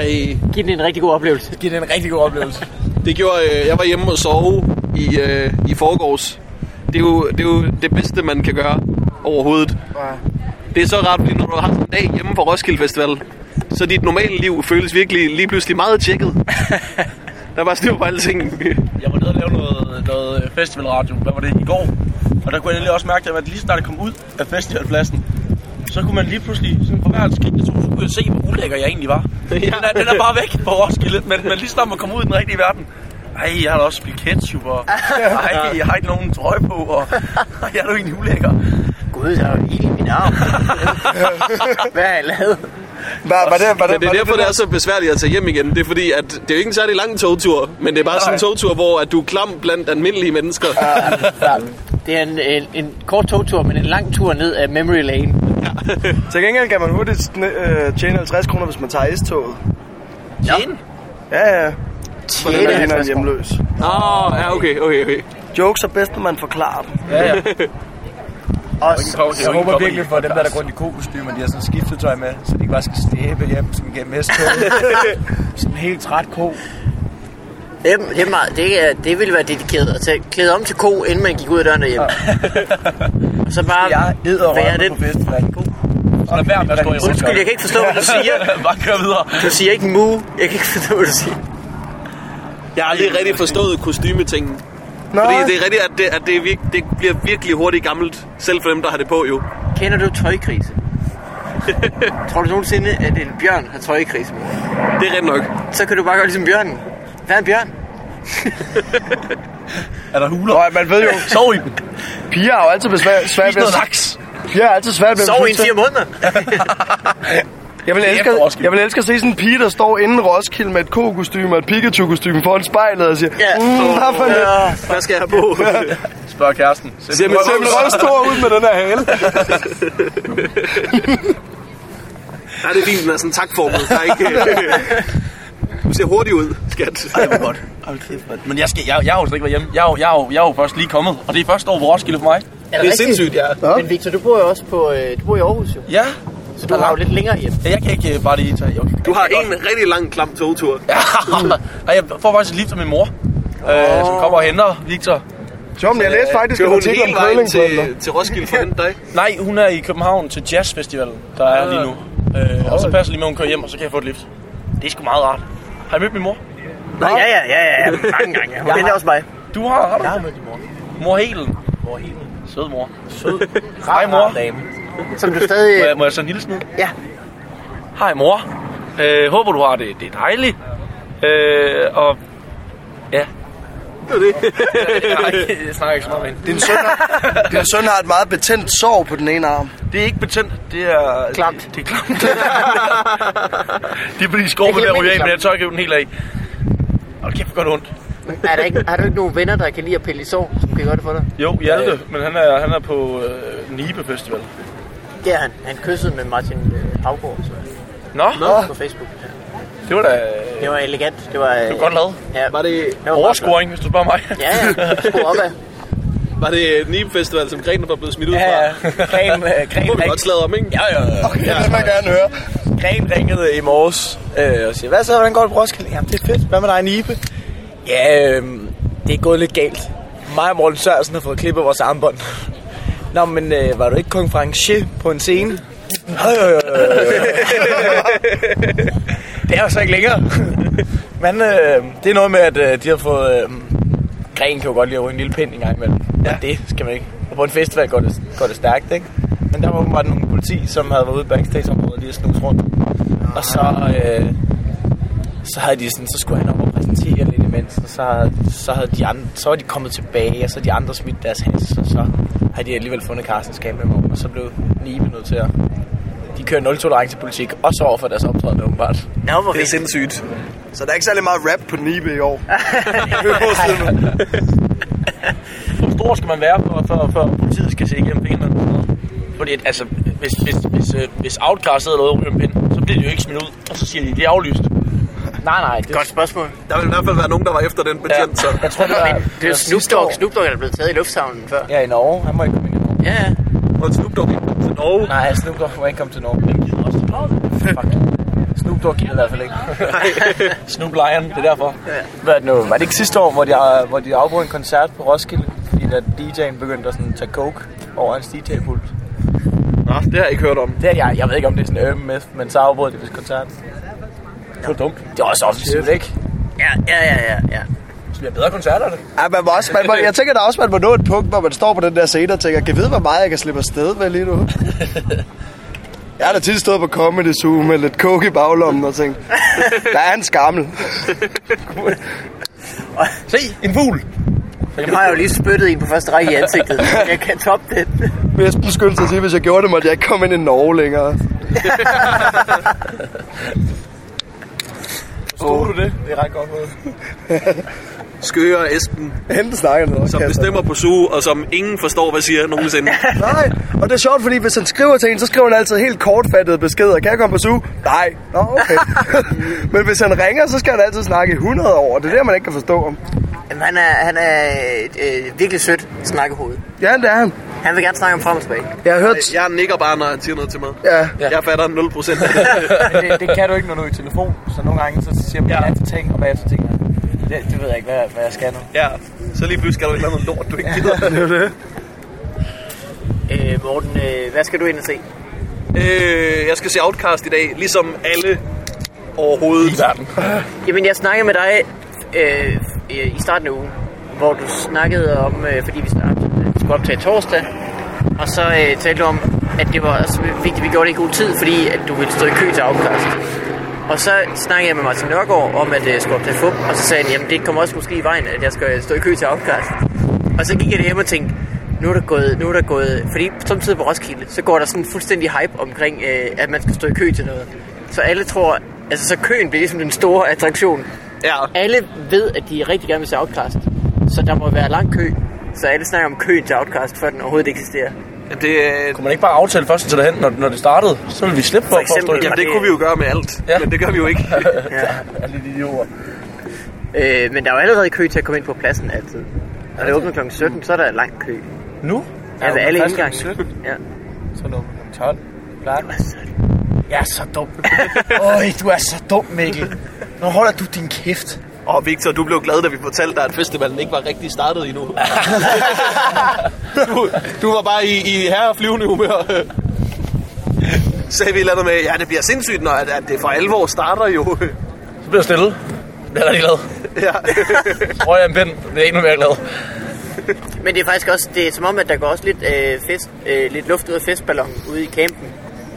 [SPEAKER 2] Hey.
[SPEAKER 1] Giv den en rigtig god oplevelse.
[SPEAKER 4] [LAUGHS] Giv det en rigtig god oplevelse.
[SPEAKER 2] Det gjorde, øh, jeg var hjemme og sove i, øh, i forgårs. Det er, jo, det er jo det bedste, man kan gøre overhovedet. Det er så rart, fordi når du har haft en dag hjemme på Roskilde Festival, så dit normale liv føles virkelig lige pludselig meget [LAUGHS] tjekket. Der var styr på alting.
[SPEAKER 5] Jeg var nede og lave noget, noget festivalradio, hvad var det, i går. Og der kunne jeg nemlig også mærke, at lige snart jeg kom ud af festivalpladsen, så kunne man lige pludselig, sådan for hver skridt, jeg tog, så kunne jeg
[SPEAKER 4] [LAUGHS]
[SPEAKER 5] se, hvor ulækker jeg egentlig var. Den, er, den er bare væk på Roskilde, men, men lige snart man kom ud i den rigtige verden, Ej, jeg har da også spillet ketchup, og ej, jeg har ikke nogen trøje på, og [LAUGHS] ej, jeg er da egentlig ulækker.
[SPEAKER 1] Gud, der er jo ild i min [LAUGHS] arm. Hvad har jeg lavet?
[SPEAKER 3] Var, var det, var
[SPEAKER 2] Men
[SPEAKER 3] det,
[SPEAKER 2] det
[SPEAKER 3] var
[SPEAKER 2] er derfor,
[SPEAKER 3] det,
[SPEAKER 2] det er så besværligt at tage hjem igen. Det er fordi, at det er jo ikke en særlig lang togtur, men det er bare sådan en togtur, hvor at du er klam blandt almindelige mennesker.
[SPEAKER 1] Det er en, en, en kort togtur, men en lang tur ned ad memory lane.
[SPEAKER 3] Til gengæld kan man hurtigt sne- øh, tjene 50 kroner, hvis man tager S-toget.
[SPEAKER 1] Tjene?
[SPEAKER 3] Ja, ja. For
[SPEAKER 1] Tjene
[SPEAKER 3] det er en
[SPEAKER 1] 50 kroner.
[SPEAKER 3] hjemløs.
[SPEAKER 2] Åh, oh, ja, okay, okay, okay.
[SPEAKER 3] Jokes er bedst, når man forklarer dem.
[SPEAKER 4] Ja, ja.
[SPEAKER 3] Og
[SPEAKER 4] Jeg håber virkelig for dem, der er rundt i kokostymer, de har sådan skiftet tøj med, så de ikke bare skal slæbe hjem sådan gennem
[SPEAKER 5] [LAUGHS]
[SPEAKER 4] S-toget. sådan en helt træt ko.
[SPEAKER 1] Det, er- det, er meget, det, er, det ville være dedikeret at tage, klæde om til ko, inden man gik ud af døren derhjemme. Og så bare
[SPEAKER 4] Jeg æder
[SPEAKER 1] være
[SPEAKER 4] røven
[SPEAKER 1] den.
[SPEAKER 4] på festival.
[SPEAKER 5] Så lad være med at stå i
[SPEAKER 1] Undskyld, jeg kan ikke forstå, hvad du siger.
[SPEAKER 5] Bare kør videre.
[SPEAKER 1] Du siger ikke mu. Jeg kan ikke forstå, hvad du siger.
[SPEAKER 2] Jeg har aldrig rigtig forstået kostymetingen. Fordi det er rigtigt, at, det, at det, er virk, det bliver virkelig hurtigt gammelt, selv for dem, der har det på jo.
[SPEAKER 1] Kender du tøjkrise? [LAUGHS] Tror du nogensinde, at en bjørn har tøjkrise?
[SPEAKER 2] Det er rigtigt nok.
[SPEAKER 1] Så kan du bare gøre ligesom bjørnen. Hvad er en bjørn?
[SPEAKER 5] Er der huler?
[SPEAKER 3] Nå, ja, man ved jo,
[SPEAKER 5] Sov i dem.
[SPEAKER 3] piger har jo altid besvær, svært
[SPEAKER 5] Spis
[SPEAKER 3] ved
[SPEAKER 5] noget
[SPEAKER 3] at...
[SPEAKER 5] laks.
[SPEAKER 3] Piger har altid svært ved at
[SPEAKER 1] Sov i en
[SPEAKER 3] beslutte sig.
[SPEAKER 1] fire måneder.
[SPEAKER 3] Jeg vil, elske,
[SPEAKER 5] Efter Roskilde.
[SPEAKER 3] jeg vil elske at se sådan en pige, der står inden Roskilde med et ko-kostyme og et Pikachu-kostyme foran spejlet og siger,
[SPEAKER 1] Ja.
[SPEAKER 3] yeah. mm, hvad for det?
[SPEAKER 1] Ja.
[SPEAKER 2] Hvad skal jeg have på?
[SPEAKER 5] Spørg kæresten.
[SPEAKER 2] [LAUGHS] Siger min
[SPEAKER 3] Den
[SPEAKER 2] sømler
[SPEAKER 3] røv stor ud med den her hale.
[SPEAKER 2] Nej, det er fint, den er sådan takformet. Der er ikke... øh, [LAUGHS] Du ser hurtig ud, skat.
[SPEAKER 5] Ej, hvor godt. Hold kæft, mand. Men jeg, skal, jeg, jeg har jo slet ikke været hjemme. Jeg er, jo, jeg, er jo, jeg er jo først lige kommet, og det er første år på Roskilde for mig.
[SPEAKER 1] Er
[SPEAKER 2] Det er sindssygt, ja.
[SPEAKER 1] Men Victor, du bor jo også på, øh, du bor i Aarhus jo.
[SPEAKER 5] Ja.
[SPEAKER 1] Så du har jo lidt længere hjem.
[SPEAKER 5] Jeg kan ikke øh, bare lige tage... Okay. [LAUGHS]
[SPEAKER 2] Du har en rigtig lang klam togtur.
[SPEAKER 5] Ja. Ej, jeg får faktisk et lift af min mor, øh, som kommer og henter Victor.
[SPEAKER 3] Jo, men jeg læste faktisk
[SPEAKER 2] Kører
[SPEAKER 3] en
[SPEAKER 2] hun
[SPEAKER 3] artikel om
[SPEAKER 2] hele vejen
[SPEAKER 3] curlingforældre.
[SPEAKER 2] til, til Roskilde for at hente dig?
[SPEAKER 5] Nej, hun er i København til jazzfestivalen, der er lige nu. Øh, og så passer lige med, at hun kører hjem, og så kan jeg få et lift. Det er sgu meget rart. Har I mødt min mor?
[SPEAKER 1] Ja, ja, ja, ja. ja. Mange gange. ja. Hun kender også mig.
[SPEAKER 5] Du har, har du? Jeg har mødt din mor. Mor Helen. Mor Helen. Sød mor. Sød. Hej mor.
[SPEAKER 1] Som du
[SPEAKER 5] Må jeg,
[SPEAKER 1] stadig...
[SPEAKER 5] må jeg så en hilsen ud?
[SPEAKER 1] Øh, Ja.
[SPEAKER 5] Hej mor. Øh, håber du har det, det er dejligt. Øh, og ja. Det var det. [LAUGHS] Nej, jeg snakker ikke så meget med hende.
[SPEAKER 3] Din søn, har, din søn har et meget betændt sår på den ene arm.
[SPEAKER 5] Det er ikke betændt, det er...
[SPEAKER 1] Klamt.
[SPEAKER 5] Det, det er klamt. det er fordi skorpen
[SPEAKER 1] Det er helt
[SPEAKER 5] der ryger af, men
[SPEAKER 1] klamt.
[SPEAKER 5] jeg tør ikke hive den helt af. Hold kæft, hvor gør det ondt.
[SPEAKER 1] Er der ikke, har du ikke nogen venner, der kan lide at pille i sår, som kan gøre det for dig?
[SPEAKER 5] Jo, Hjalte, øh. men han er, han er på øh, Nibe Festival.
[SPEAKER 1] Det er han. Han kyssede med Martin øh, Havgaard så,
[SPEAKER 5] Nå, Nå,
[SPEAKER 1] på Facebook. Ja.
[SPEAKER 5] det var da
[SPEAKER 1] Det var elegant. Det var, øh,
[SPEAKER 5] det var godt lavet.
[SPEAKER 1] Ja. Var det var meget godt.
[SPEAKER 5] Overscoring, hvis du spørger mig.
[SPEAKER 1] Ja, ja. Skru opad.
[SPEAKER 2] Var det Nibe Festival, som Grene var blevet smidt ud fra?
[SPEAKER 4] Ja, ja. Gren, øh,
[SPEAKER 5] [LAUGHS]
[SPEAKER 2] Det
[SPEAKER 4] Gren,
[SPEAKER 2] må vi
[SPEAKER 4] ring-
[SPEAKER 2] godt slade om, ikke?
[SPEAKER 5] Ja, ja, ja.
[SPEAKER 3] Det vil man gerne høre.
[SPEAKER 4] Gren ringede i morges øh, og siger, hvad så, hvordan går det på Roskilde? Jamen, det er fedt. Hvad med dig, Nibe? Ja, øh, det er gået lidt galt. Mig og Morten Sørensen har fået klippet vores armbånd. [LAUGHS] Nå, men øh, var du ikke konferencier på en scene? [LAUGHS] Øh, øh, øh, øh. [LAUGHS] det er jo så ikke længere. Men øh, det er noget med, at øh, de har fået... Øh, Gren kan jo godt lide at ryge en lille pind en gang imellem. Ja. Og det skal man ikke. Og på en festival går det, går det stærkt, ikke? Men der var åbenbart nogle politi, som havde været ude i backstage-området lige at snuse rundt. Og så, øh, så havde de sådan, så skulle han op og præsentere lidt imens, og så, havde- så, havde de andre, så var de kommet tilbage, og så havde de andre smidt deres has, og så havde de alligevel fundet Carstens kameramål, og så blev Nibe nødt til at... De kører nul-tolerance-politik, også over for deres optræden, åbenbart.
[SPEAKER 1] Nå, hvor
[SPEAKER 2] Det er
[SPEAKER 1] vildt.
[SPEAKER 2] sindssygt.
[SPEAKER 3] Så der er ikke særlig meget rap på Nibe i år.
[SPEAKER 5] Hvor stor skal man være, for, for, for politiet skal se igennem fingrene? Fordi at, altså, hvis, hvis, hvis, øh, hvis Outcast sidder derude og ryger en pind, så bliver de jo ikke smidt ud, og så siger de, det er aflyst.
[SPEAKER 4] Nej, nej, det,
[SPEAKER 1] [LAUGHS] Godt spørgsmål.
[SPEAKER 2] Der vil i hvert fald være nogen, der var efter den betjent, så...
[SPEAKER 4] jeg tror, det var...
[SPEAKER 1] Det er jo Snoop Dogg. Snoop Dogg er blevet taget i lufthavnen før.
[SPEAKER 4] Ja, i Norge. Han må ikke komme ind i Norge.
[SPEAKER 1] Ja, ja.
[SPEAKER 2] Og Snoop Dogg ikke kom til Norge.
[SPEAKER 4] Nej, Snoop Dogg må ikke komme til Norge. Hvem gider også til Norge? Fuck. Snoop Dogg gider i hvert fald ikke. [LAUGHS]
[SPEAKER 5] Snoop Lion, det er derfor.
[SPEAKER 4] Hvad er det nu? Var det ikke sidste år, hvor de, øh, hvor de afbrød en koncert på Roskilde? Fordi da DJ'en begyndte at sådan tage coke over hans DJ-pult.
[SPEAKER 2] Nå, det har jeg ikke hørt om.
[SPEAKER 4] Det er jeg, jeg ved ikke, om det er sådan ømme med, men så afbrød de vist koncert.
[SPEAKER 5] Det var dumt.
[SPEAKER 4] Det er også offensivt, ikke?
[SPEAKER 1] Ja, ja, ja, ja. ja.
[SPEAKER 5] Så bliver bedre koncerter, det.
[SPEAKER 3] Ja, man må også, man må, jeg tænker, der er også, man må nå et punkt, hvor man står på den der scene og tænker, kan jeg vide, hvor meget jeg kan slippe afsted med lige [LAUGHS] nu? Jeg har da tit stået på Comedy Zoo med lidt coke i baglommen og tænkt, der er en skammel.
[SPEAKER 5] Se, en fugl. Så kan
[SPEAKER 1] Nu har jeg jo lige spyttet en på første række i [LAUGHS] ansigtet. Jeg kan toppe det.
[SPEAKER 3] Men jeg skulle skynde sig at sige, at hvis jeg gjorde det, måtte jeg ikke komme ind i Norge længere.
[SPEAKER 4] Stod du det? Det er ret godt måde.
[SPEAKER 2] Skøre Esben,
[SPEAKER 3] Hente snakker noget.
[SPEAKER 2] som
[SPEAKER 3] Kasper.
[SPEAKER 2] bestemmer på suge, og som ingen forstår, hvad siger nogensinde.
[SPEAKER 3] Nej, og det er sjovt, fordi hvis han skriver til en, så skriver han altid helt kortfattede beskeder. Kan jeg komme på suge? Nej. Nå, okay. [LAUGHS] Men hvis han ringer, så skal han altid snakke i 100 år, og det er det, man ikke kan forstå om.
[SPEAKER 1] Jamen, han er, han er et øh, virkelig sødt snakkehoved.
[SPEAKER 3] Ja, det er han.
[SPEAKER 1] Han vil gerne snakke om frem og tilbage.
[SPEAKER 3] Jeg har hørt...
[SPEAKER 2] [LAUGHS] Jeg nikker bare, når han siger noget til mig.
[SPEAKER 3] Ja.
[SPEAKER 2] Ja. Jeg fatter 0% af det.
[SPEAKER 4] Men det, det kan du ikke, når du er i telefon. Så nogle gange så siger man ja til ting, og bagefter tænker jeg, det, det ved jeg ikke, hvad, hvad jeg skal nu.
[SPEAKER 2] Ja, så lige pludselig skal du ikke lave noget lort, du ikke gider.
[SPEAKER 1] Øh, Morten, øh, hvad skal du ind og se?
[SPEAKER 2] øh, jeg skal se Outcast i dag, ligesom alle overhovedet.
[SPEAKER 1] Jamen, jeg snakkede med dig øh, øh, i starten af ugen, hvor du snakkede om, øh, fordi vi snart øh, skulle optage torsdag, og så øh, talte du om, at det var så vigtigt, at vi gjorde det i god tid, fordi at du ville stå i kø til afkast. Og så snakkede jeg med Martin Nørgaard om, at jeg skulle optage fup, og så sagde han, jamen det kommer også måske i vejen, at jeg skal stå i kø til afkast. Og så gik jeg hjem og tænkte, nu er der gået, nu er der gået, fordi samtidig på Roskilde, så går der sådan en fuldstændig hype omkring, øh, at man skal stå i kø til noget. Så alle tror, altså så køen bliver ligesom den store attraktion.
[SPEAKER 2] Ja,
[SPEAKER 1] Alle ved, at de rigtig gerne vil se Outcast, så der må være lang kø. Så alle snakker om køen til Outcast, før den overhovedet eksisterer.
[SPEAKER 2] det,
[SPEAKER 4] Kunne man ikke bare aftale først til derhen, når, når det startede? Så ville vi slippe for,
[SPEAKER 1] For
[SPEAKER 4] for at stå
[SPEAKER 1] eksempel-
[SPEAKER 4] i
[SPEAKER 2] jamen, det kunne vi jo gøre med alt, ja.
[SPEAKER 4] Ja.
[SPEAKER 2] men det gør vi jo [LAUGHS] ikke.
[SPEAKER 4] alle de idioter.
[SPEAKER 1] Øh, men der er jo allerede kø til at komme ind på pladsen altid. Når det åbner kl. 17, så er der lang kø.
[SPEAKER 4] Nu?
[SPEAKER 1] Altså
[SPEAKER 4] Ja,
[SPEAKER 1] alle
[SPEAKER 4] først
[SPEAKER 1] indgange.
[SPEAKER 4] klokken 17,
[SPEAKER 1] Ja. altså,
[SPEAKER 4] Så er det om 12. Klart. Jeg er så dum. Øj, du er så dum, Mikkel. Nu holder du din kæft.
[SPEAKER 2] Og Victor, du blev glad, da vi fortalte dig, at festivalen ikke var rigtig startet endnu. [LAUGHS] du, du var bare i, i herre flyvende humør. [LAUGHS] Sagde vi et eller andet med, ja, det bliver sindssygt, når at, at det for alvor starter jo. [LAUGHS]
[SPEAKER 4] Så bliver jeg stille. Jeg er rigtig glad. [LAUGHS]
[SPEAKER 2] ja.
[SPEAKER 4] Tror jeg en pind. Det er endnu mere glad.
[SPEAKER 1] Men det er faktisk også, det er som om, at der går også lidt, øh, fest, øh, lidt luft ud af festballonen ude i campen,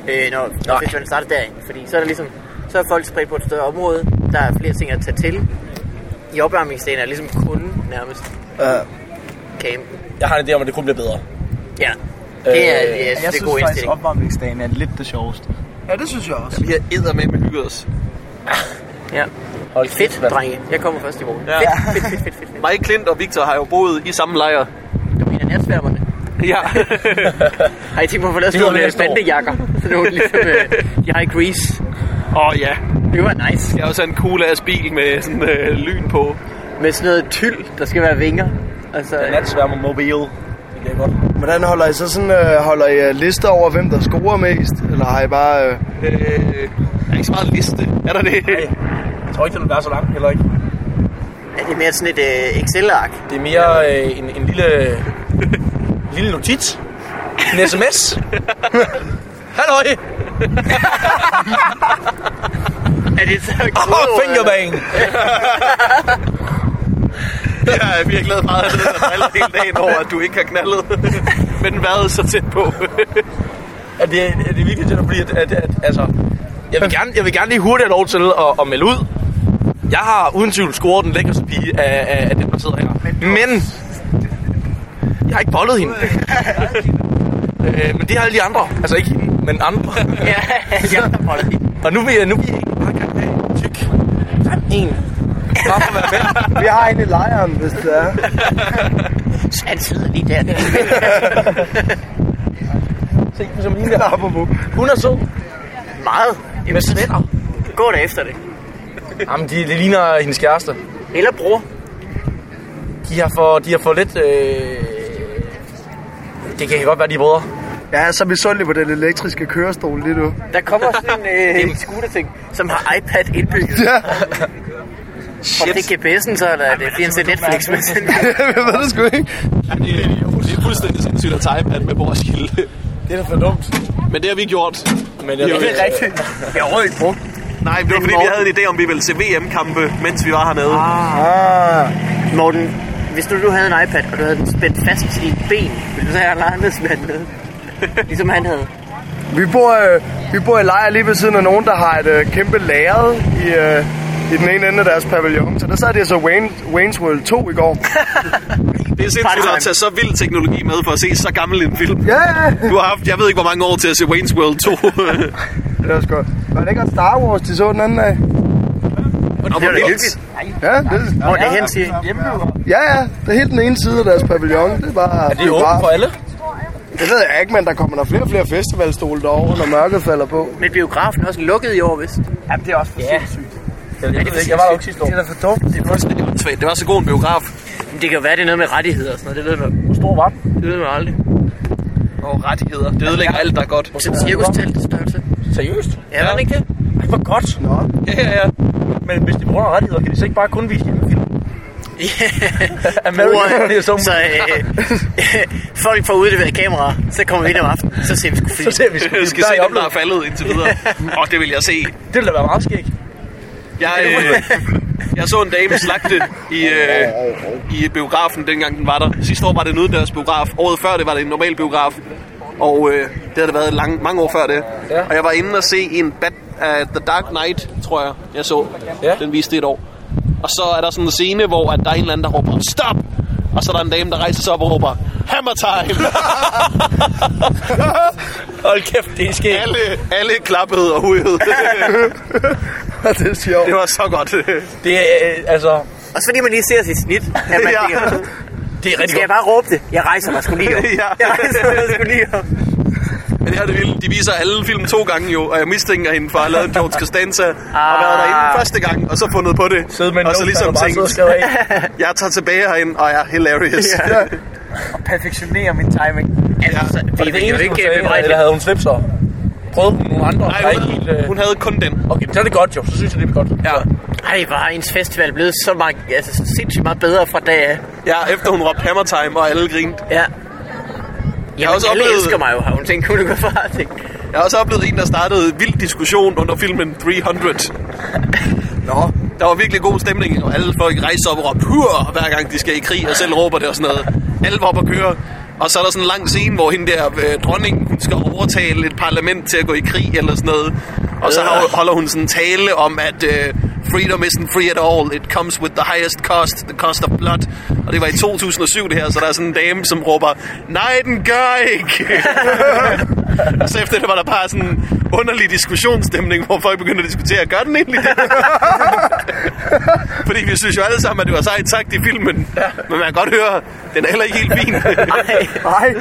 [SPEAKER 1] øh, når, når festivalen starter derinde. Fordi så er der ligesom, så er folk spredt på et større område, der er flere ting at tage til. I opvarmningsdagen er ligesom kun nærmest
[SPEAKER 3] Ja.
[SPEAKER 1] campen.
[SPEAKER 4] Jeg har en idé om, at det kun bliver bedre.
[SPEAKER 1] Ja, det er, øh, jeg synes, det er god indstilling.
[SPEAKER 4] opvarmningsdagen er lidt det sjoveste.
[SPEAKER 3] ja, det synes jeg også.
[SPEAKER 2] Vi har eddermame hygget os.
[SPEAKER 1] Ja.
[SPEAKER 4] Hold
[SPEAKER 1] Fedt, drenge. Jeg kommer først i morgen.
[SPEAKER 2] Ja.
[SPEAKER 1] Ja. Fedt, fedt, fedt, fedt, fedt, fedt.
[SPEAKER 2] Mig, Klint og Victor har jo boet i samme lejr.
[SPEAKER 1] Du mener natsværmerne.
[SPEAKER 2] Ja.
[SPEAKER 1] Har I tænkt mig at få lavet sådan
[SPEAKER 4] Det var
[SPEAKER 1] nogle øh,
[SPEAKER 4] næste år.
[SPEAKER 1] bandejakker? Sådan nogle ligesom, øh, de har i Grease.
[SPEAKER 2] [LAUGHS] Åh oh, ja.
[SPEAKER 1] Det var nice.
[SPEAKER 2] Jeg har også en cool ass bil med sådan øh, lyn på.
[SPEAKER 1] Med sådan noget tyld, der skal være vinger. Altså,
[SPEAKER 4] Natsværmer mobil. Det er godt.
[SPEAKER 3] Hvordan holder I så sådan... Øh, holder I øh, lister over, hvem der scorer mest? Eller har I bare... Øh,
[SPEAKER 2] Øh, der er ikke så meget liste. Er der det?
[SPEAKER 4] Hey, jeg tror ikke, det vil være så langt heller ikke.
[SPEAKER 1] er det mere sådan et øh, Excel-ark?
[SPEAKER 4] Det er mere øh, en, en lille, en lille notits. En [LAUGHS] sms. Halløj!
[SPEAKER 1] Er det så
[SPEAKER 4] Oh, fingerbang!
[SPEAKER 2] Ja, vi er glade meget, at du har hele dagen over, at du ikke har knaldet. Men været så tæt på.
[SPEAKER 4] Er det, er det virkelig det, der bliver? At, at, at, altså, jeg vil, gerne, jeg vil gerne lige hurtigt have lov til at, at melde ud. Jeg har uden tvivl scoret den lækkerste pige af, af, af dem, der sidder her. Men jeg har ikke bollet [LAUGHS] hende. øh, men det har alle de andre. Altså ikke hende, men andre.
[SPEAKER 1] Ja, [LAUGHS] ja, der holder de.
[SPEAKER 4] Og nu vil jeg, nu vil jeg ikke bare gerne have en tyk. Fem en. Bare for at være med.
[SPEAKER 3] vi har en i lejren, hvis det [LAUGHS] er.
[SPEAKER 1] Han sidder lige der.
[SPEAKER 4] Se, som hende der. Hun er sød.
[SPEAKER 1] Meget.
[SPEAKER 4] Med snetter.
[SPEAKER 1] Gå da efter det.
[SPEAKER 4] Jamen, de, det ligner hendes kæreste.
[SPEAKER 1] Eller bror.
[SPEAKER 4] De har for, de har for lidt... Øh... Det kan godt være, de er brødre.
[SPEAKER 3] Ja, så er vi sundelige på den elektriske kørestol lige nu. [LAUGHS]
[SPEAKER 1] Der kommer sådan en øh, scooter-ting, som har iPad indbygget. Ja. Og det er GPS'en, så eller er det bliver en til Netflix. Men
[SPEAKER 3] jeg ved det sgu ikke.
[SPEAKER 2] Det, det er fuldstændig sindssygt at time at med på Roskilde.
[SPEAKER 4] Det er da for dumt.
[SPEAKER 2] Men det har vi gjort.
[SPEAKER 4] Men jeg,
[SPEAKER 2] Jo, det er
[SPEAKER 4] rigtigt.
[SPEAKER 1] jeg har ikke brugt.
[SPEAKER 2] Nej, det var fordi, vi havde en idé om, vi ville se VM-kampe, mens vi var hernede.
[SPEAKER 1] Morten, hvis du nu havde en iPad, og du havde den spændt fast til dit ben, ville du så have Arne Andersen med [LAUGHS] den? Ligesom han havde.
[SPEAKER 3] Vi bor, øh, vi bor i lejr lige ved siden af nogen, der har et øh, kæmpe lærred i, øh, i den ene ende af deres pavillon. Så der sad de så Wayne, Wayne's World 2 i går.
[SPEAKER 2] Det er sindssygt at tage så vild teknologi med for at se så gammel en film.
[SPEAKER 3] [LAUGHS] Ja, ja,
[SPEAKER 2] Du har haft, jeg ved ikke, hvor mange år til at se Wayne's World [LAUGHS] 2.
[SPEAKER 3] det er også godt. Var det ikke også Star Wars, de så den anden dag?
[SPEAKER 2] Nå, hvor vildt.
[SPEAKER 3] Ja, det,
[SPEAKER 1] Hvor er det hen, siger I?
[SPEAKER 3] ja, ja, det er helt den ene side af deres pavillon. Det er bare...
[SPEAKER 4] Er det åbent for alle?
[SPEAKER 3] Det ved jeg ikke, men der kommer der flere og flere festivalstole derovre, når mørket falder på.
[SPEAKER 1] Men biografen er også lukket i år, vist.
[SPEAKER 4] Jamen, det er også for ja. sindssygt. Jeg, jeg, jeg, jeg var der ikke sidste år.
[SPEAKER 3] Det er da for dumt.
[SPEAKER 2] Svagt, Det var så god en biograf.
[SPEAKER 1] Men det kan jo være, det er noget med rettigheder og sådan noget. Det ved man,
[SPEAKER 4] Hvor stor var den?
[SPEAKER 1] det ved man aldrig.
[SPEAKER 2] Og rettigheder. Det ødelægger alt, der er godt.
[SPEAKER 1] Som cirkustelt størrelse.
[SPEAKER 4] Seriøst?
[SPEAKER 1] Ja, var det ikke det?
[SPEAKER 4] Ej, hvor godt.
[SPEAKER 3] Nå,
[SPEAKER 2] Ja, ja, ja.
[SPEAKER 4] Men hvis de bruger nogle rettigheder, kan de så ikke bare kun vise hjemmefilm? American
[SPEAKER 1] Ure,
[SPEAKER 4] Idiot så,
[SPEAKER 1] så øh, [LAUGHS] folk får udleveret kameraer, så kommer vi ind om aftenen, så ser vi sgu
[SPEAKER 4] så [LAUGHS]
[SPEAKER 1] film.
[SPEAKER 4] ser vi sgu.
[SPEAKER 2] Jeg skal
[SPEAKER 4] Der er
[SPEAKER 2] se
[SPEAKER 4] jeg
[SPEAKER 2] dem, der er
[SPEAKER 4] oplevet.
[SPEAKER 2] faldet indtil [LAUGHS] videre. Og det vil jeg se.
[SPEAKER 4] Det ville da være meget skægt.
[SPEAKER 2] Jeg, øh, jeg så en dame slagte i, øh, i biografen, dengang den var der. Sidste år var det en udendørs biograf. Året før det var det en normal biograf. Og øh, det havde det været lang, mange år før det.
[SPEAKER 4] Ja.
[SPEAKER 2] Og jeg var inde og se en Bat uh, The Dark Knight, tror jeg, jeg så.
[SPEAKER 4] Ja.
[SPEAKER 2] Den viste det et år. Og så er der sådan en scene, hvor at der er en eller anden, der råber, stop! Og så er der en dame, der rejser sig op og råber, hammer time!
[SPEAKER 4] Hold kæft, det er
[SPEAKER 2] [LAUGHS]
[SPEAKER 4] skægt.
[SPEAKER 2] alle, alle klappede og [LAUGHS] hujede.
[SPEAKER 3] det er sjovt.
[SPEAKER 2] det var så godt.
[SPEAKER 4] Det er, øh, altså...
[SPEAKER 1] Også fordi man lige ser sit snit. At man
[SPEAKER 2] Ja.
[SPEAKER 1] ja. tænker,
[SPEAKER 4] Det er
[SPEAKER 1] skal jeg bare råbe det? Jeg rejser mig sgu lige
[SPEAKER 2] [LAUGHS]
[SPEAKER 1] op.
[SPEAKER 2] [LAUGHS] Ja.
[SPEAKER 1] Jeg rejser mig sgu lige op.
[SPEAKER 2] Men det her er det vilde. De viser alle film to gange jo, og jeg mistænker hende for at have lavet en George Costanza og været derinde første gang, og så fundet på det.
[SPEAKER 4] Sidde med en
[SPEAKER 2] og så ligesom
[SPEAKER 4] notepad og bare sidde og
[SPEAKER 2] tænkt,
[SPEAKER 4] skrive af.
[SPEAKER 2] jeg tager tilbage herind og er hilarious. Ja.
[SPEAKER 4] Perfektionere min timing.
[SPEAKER 1] Altså, så,
[SPEAKER 4] Var
[SPEAKER 1] vi
[SPEAKER 4] [LAUGHS] det
[SPEAKER 1] ved
[SPEAKER 4] det
[SPEAKER 1] jo
[SPEAKER 4] eneste, hun
[SPEAKER 1] ikke
[SPEAKER 4] sagde,
[SPEAKER 1] bebrejde
[SPEAKER 4] eller havde hun slips så? Prøvede hun nogle andre?
[SPEAKER 2] Nej,
[SPEAKER 4] der er
[SPEAKER 2] hun,
[SPEAKER 4] ikke helt, øh...
[SPEAKER 2] [LAUGHS] hun havde kun den.
[SPEAKER 4] Okay, men så er det godt jo. Så synes jeg, det er godt.
[SPEAKER 2] Ja.
[SPEAKER 1] Ej, hvor er ens festival blevet så meget, altså, så sindssygt meget bedre fra dag af.
[SPEAKER 2] ja, efter hun råbte hammer time, og alle grinte.
[SPEAKER 1] Ja. Jeg
[SPEAKER 2] har også
[SPEAKER 1] alle
[SPEAKER 2] oplevet-
[SPEAKER 1] elsker mig jo, har hun tænkt, hun går fra.
[SPEAKER 2] [LAUGHS]
[SPEAKER 1] tænkt.
[SPEAKER 2] Jeg har også oplevet en, der startede en vild diskussion under filmen 300.
[SPEAKER 3] Nå,
[SPEAKER 2] Der var virkelig god stemning, og alle folk rejser op og råber hur, hver gang de skal i krig, og selv råber det og sådan noget. Alle var op og køre. Og så er der sådan en lang scene, hvor hende der øh, dronning hun skal overtale et parlament til at gå i krig eller sådan noget. Og så har- holder hun sådan en tale om, at øh, freedom isn't free at all. It comes with the highest cost, the cost of blood. Og det var i 2007 det her, så der er sådan en dame, som råber, nej, den gør ikke. og så efter det var der bare sådan en underlig diskussionsstemning, hvor folk begyndte at diskutere, gør den egentlig
[SPEAKER 4] [LAUGHS]
[SPEAKER 2] det? Fordi vi synes jo alle sammen, at det var sejt sagt i filmen. Ja. Men man kan godt høre, den er heller ikke helt fin.
[SPEAKER 1] Ej,
[SPEAKER 3] nej.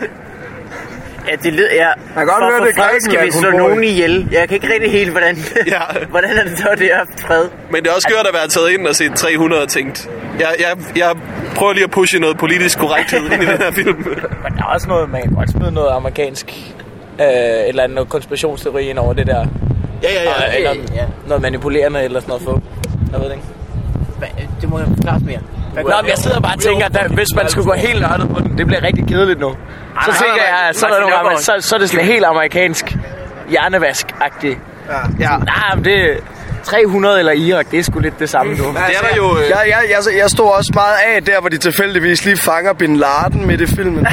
[SPEAKER 1] ja, det lyder, ja. Jeg
[SPEAKER 3] kan godt høre, det er
[SPEAKER 1] skal vi
[SPEAKER 3] Grækenland, hun
[SPEAKER 1] slå
[SPEAKER 3] bor i.
[SPEAKER 1] nogen ihjel. Jeg kan ikke rigtig helt, hvordan,
[SPEAKER 2] Ja.
[SPEAKER 1] [LAUGHS] hvordan er det så, det er fred.
[SPEAKER 2] Men det er også skørt at være taget ind og set 300 og tænkt. Jeg, jeg, jeg prøver lige at pushe noget politisk korrekthed ind i den her film.
[SPEAKER 4] Men der er også noget, man kan godt smide noget amerikansk... Øh, et eller andet noget konspirationsteori ind over det der.
[SPEAKER 2] Ja, ja, ja.
[SPEAKER 4] Og, eller
[SPEAKER 1] ja.
[SPEAKER 4] noget manipulerende eller sådan noget. Få. Jeg ved det ikke.
[SPEAKER 1] Det må jeg forklare mere.
[SPEAKER 4] Nå, men jeg sidder bare og tænker, at hvis man skulle gå helt nørdet på den, det bliver rigtig kedeligt nu. Så
[SPEAKER 1] nej,
[SPEAKER 4] tænker
[SPEAKER 1] nej,
[SPEAKER 4] jeg,
[SPEAKER 1] nej.
[SPEAKER 4] at så er, der
[SPEAKER 1] Martin
[SPEAKER 4] nogle,
[SPEAKER 1] Nørgaard.
[SPEAKER 4] så, så er det sådan helt amerikansk hjernevask-agtigt.
[SPEAKER 3] Ja.
[SPEAKER 1] Ah.
[SPEAKER 4] Nej, men det 300 eller Irak, det er sgu lidt det samme nu.
[SPEAKER 2] Det er der jo... Øh,
[SPEAKER 3] Jeg, jeg, jeg, jeg stod også meget af der, hvor de tilfældigvis lige fanger Bin Laden midt i [LAUGHS] filmen.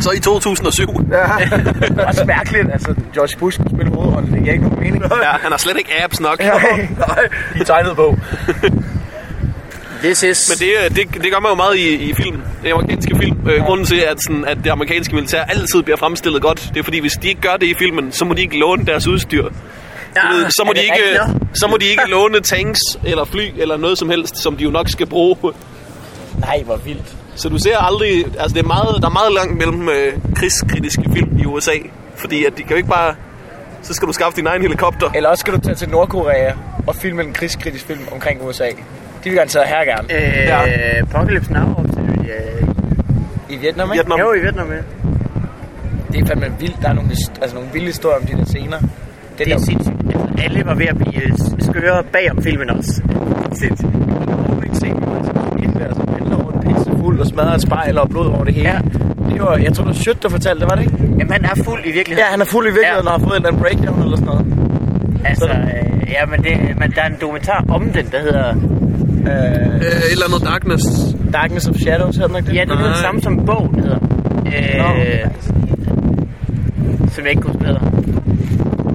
[SPEAKER 2] så i 2007.
[SPEAKER 4] Det er også mærkeligt, altså George Bush kunne spille hovedrollen, det giver ikke nogen mening.
[SPEAKER 2] Ja, han har slet ikke abs nok.
[SPEAKER 4] Nej, de tegnede på.
[SPEAKER 1] This is...
[SPEAKER 2] Men det, øh, det, det gør man jo meget i, i film. Det amerikanske film. Øh, grunden til, at, sådan, at det amerikanske militær altid bliver fremstillet godt, det er fordi, hvis de ikke gør det i filmen, så må de ikke låne deres udstyr. Du ved, så, må
[SPEAKER 1] er
[SPEAKER 2] de
[SPEAKER 1] det
[SPEAKER 2] ikke,
[SPEAKER 1] rigtigt?
[SPEAKER 2] så må de [LAUGHS] ikke låne tanks eller fly eller noget som helst, som de jo nok skal bruge.
[SPEAKER 4] Nej, hvor vildt.
[SPEAKER 2] Så du ser aldrig... Altså, det er meget, der er meget langt mellem øh, krigskritiske film i USA. Fordi at de kan jo ikke bare... Så skal du skaffe din egen helikopter.
[SPEAKER 4] Eller også skal du tage til Nordkorea og filme en krigskritisk film omkring USA. De vil gerne sidde her gerne.
[SPEAKER 1] Øh,
[SPEAKER 2] Ja.
[SPEAKER 1] ja. Apocalypse Now op til øh,
[SPEAKER 4] I Vietnam, ikke?
[SPEAKER 2] Vietnam.
[SPEAKER 1] jo i Vietnam, ja.
[SPEAKER 4] Det er fandme vildt. Der er nogle, hist- altså, nogle vilde historier om de der scener. Det
[SPEAKER 1] Det
[SPEAKER 4] der
[SPEAKER 1] er sindssygt. Altså, alle var ved at blive øh, skøre bag om filmen også. Sindssygt.
[SPEAKER 4] åbningsscenen, hvor han sådan går ind der, så handler over en pisse fuld og smadrer et spejl og blod over det hele.
[SPEAKER 1] Ja.
[SPEAKER 4] Ja. Det var, jeg tror, det var Schødt, der fortalte det, var det ikke?
[SPEAKER 1] Jamen, han er fuld i
[SPEAKER 4] Ja,
[SPEAKER 1] virkeligheden.
[SPEAKER 4] han er fuld i virkeligheden
[SPEAKER 1] Ja.
[SPEAKER 4] ja. og har fået en eller anden breakdown eller sådan noget.
[SPEAKER 1] altså, øh, ja, men, det, men der er en dokumentar om den, der hedder...
[SPEAKER 4] Øh,
[SPEAKER 2] Øh, et eller andet darkness.
[SPEAKER 4] Darkness of Shadows, hedder den ikke det?
[SPEAKER 1] Ja, det er den
[SPEAKER 2] Nej.
[SPEAKER 1] samme som bogen hedder. Øh, som jeg ikke kunne spille.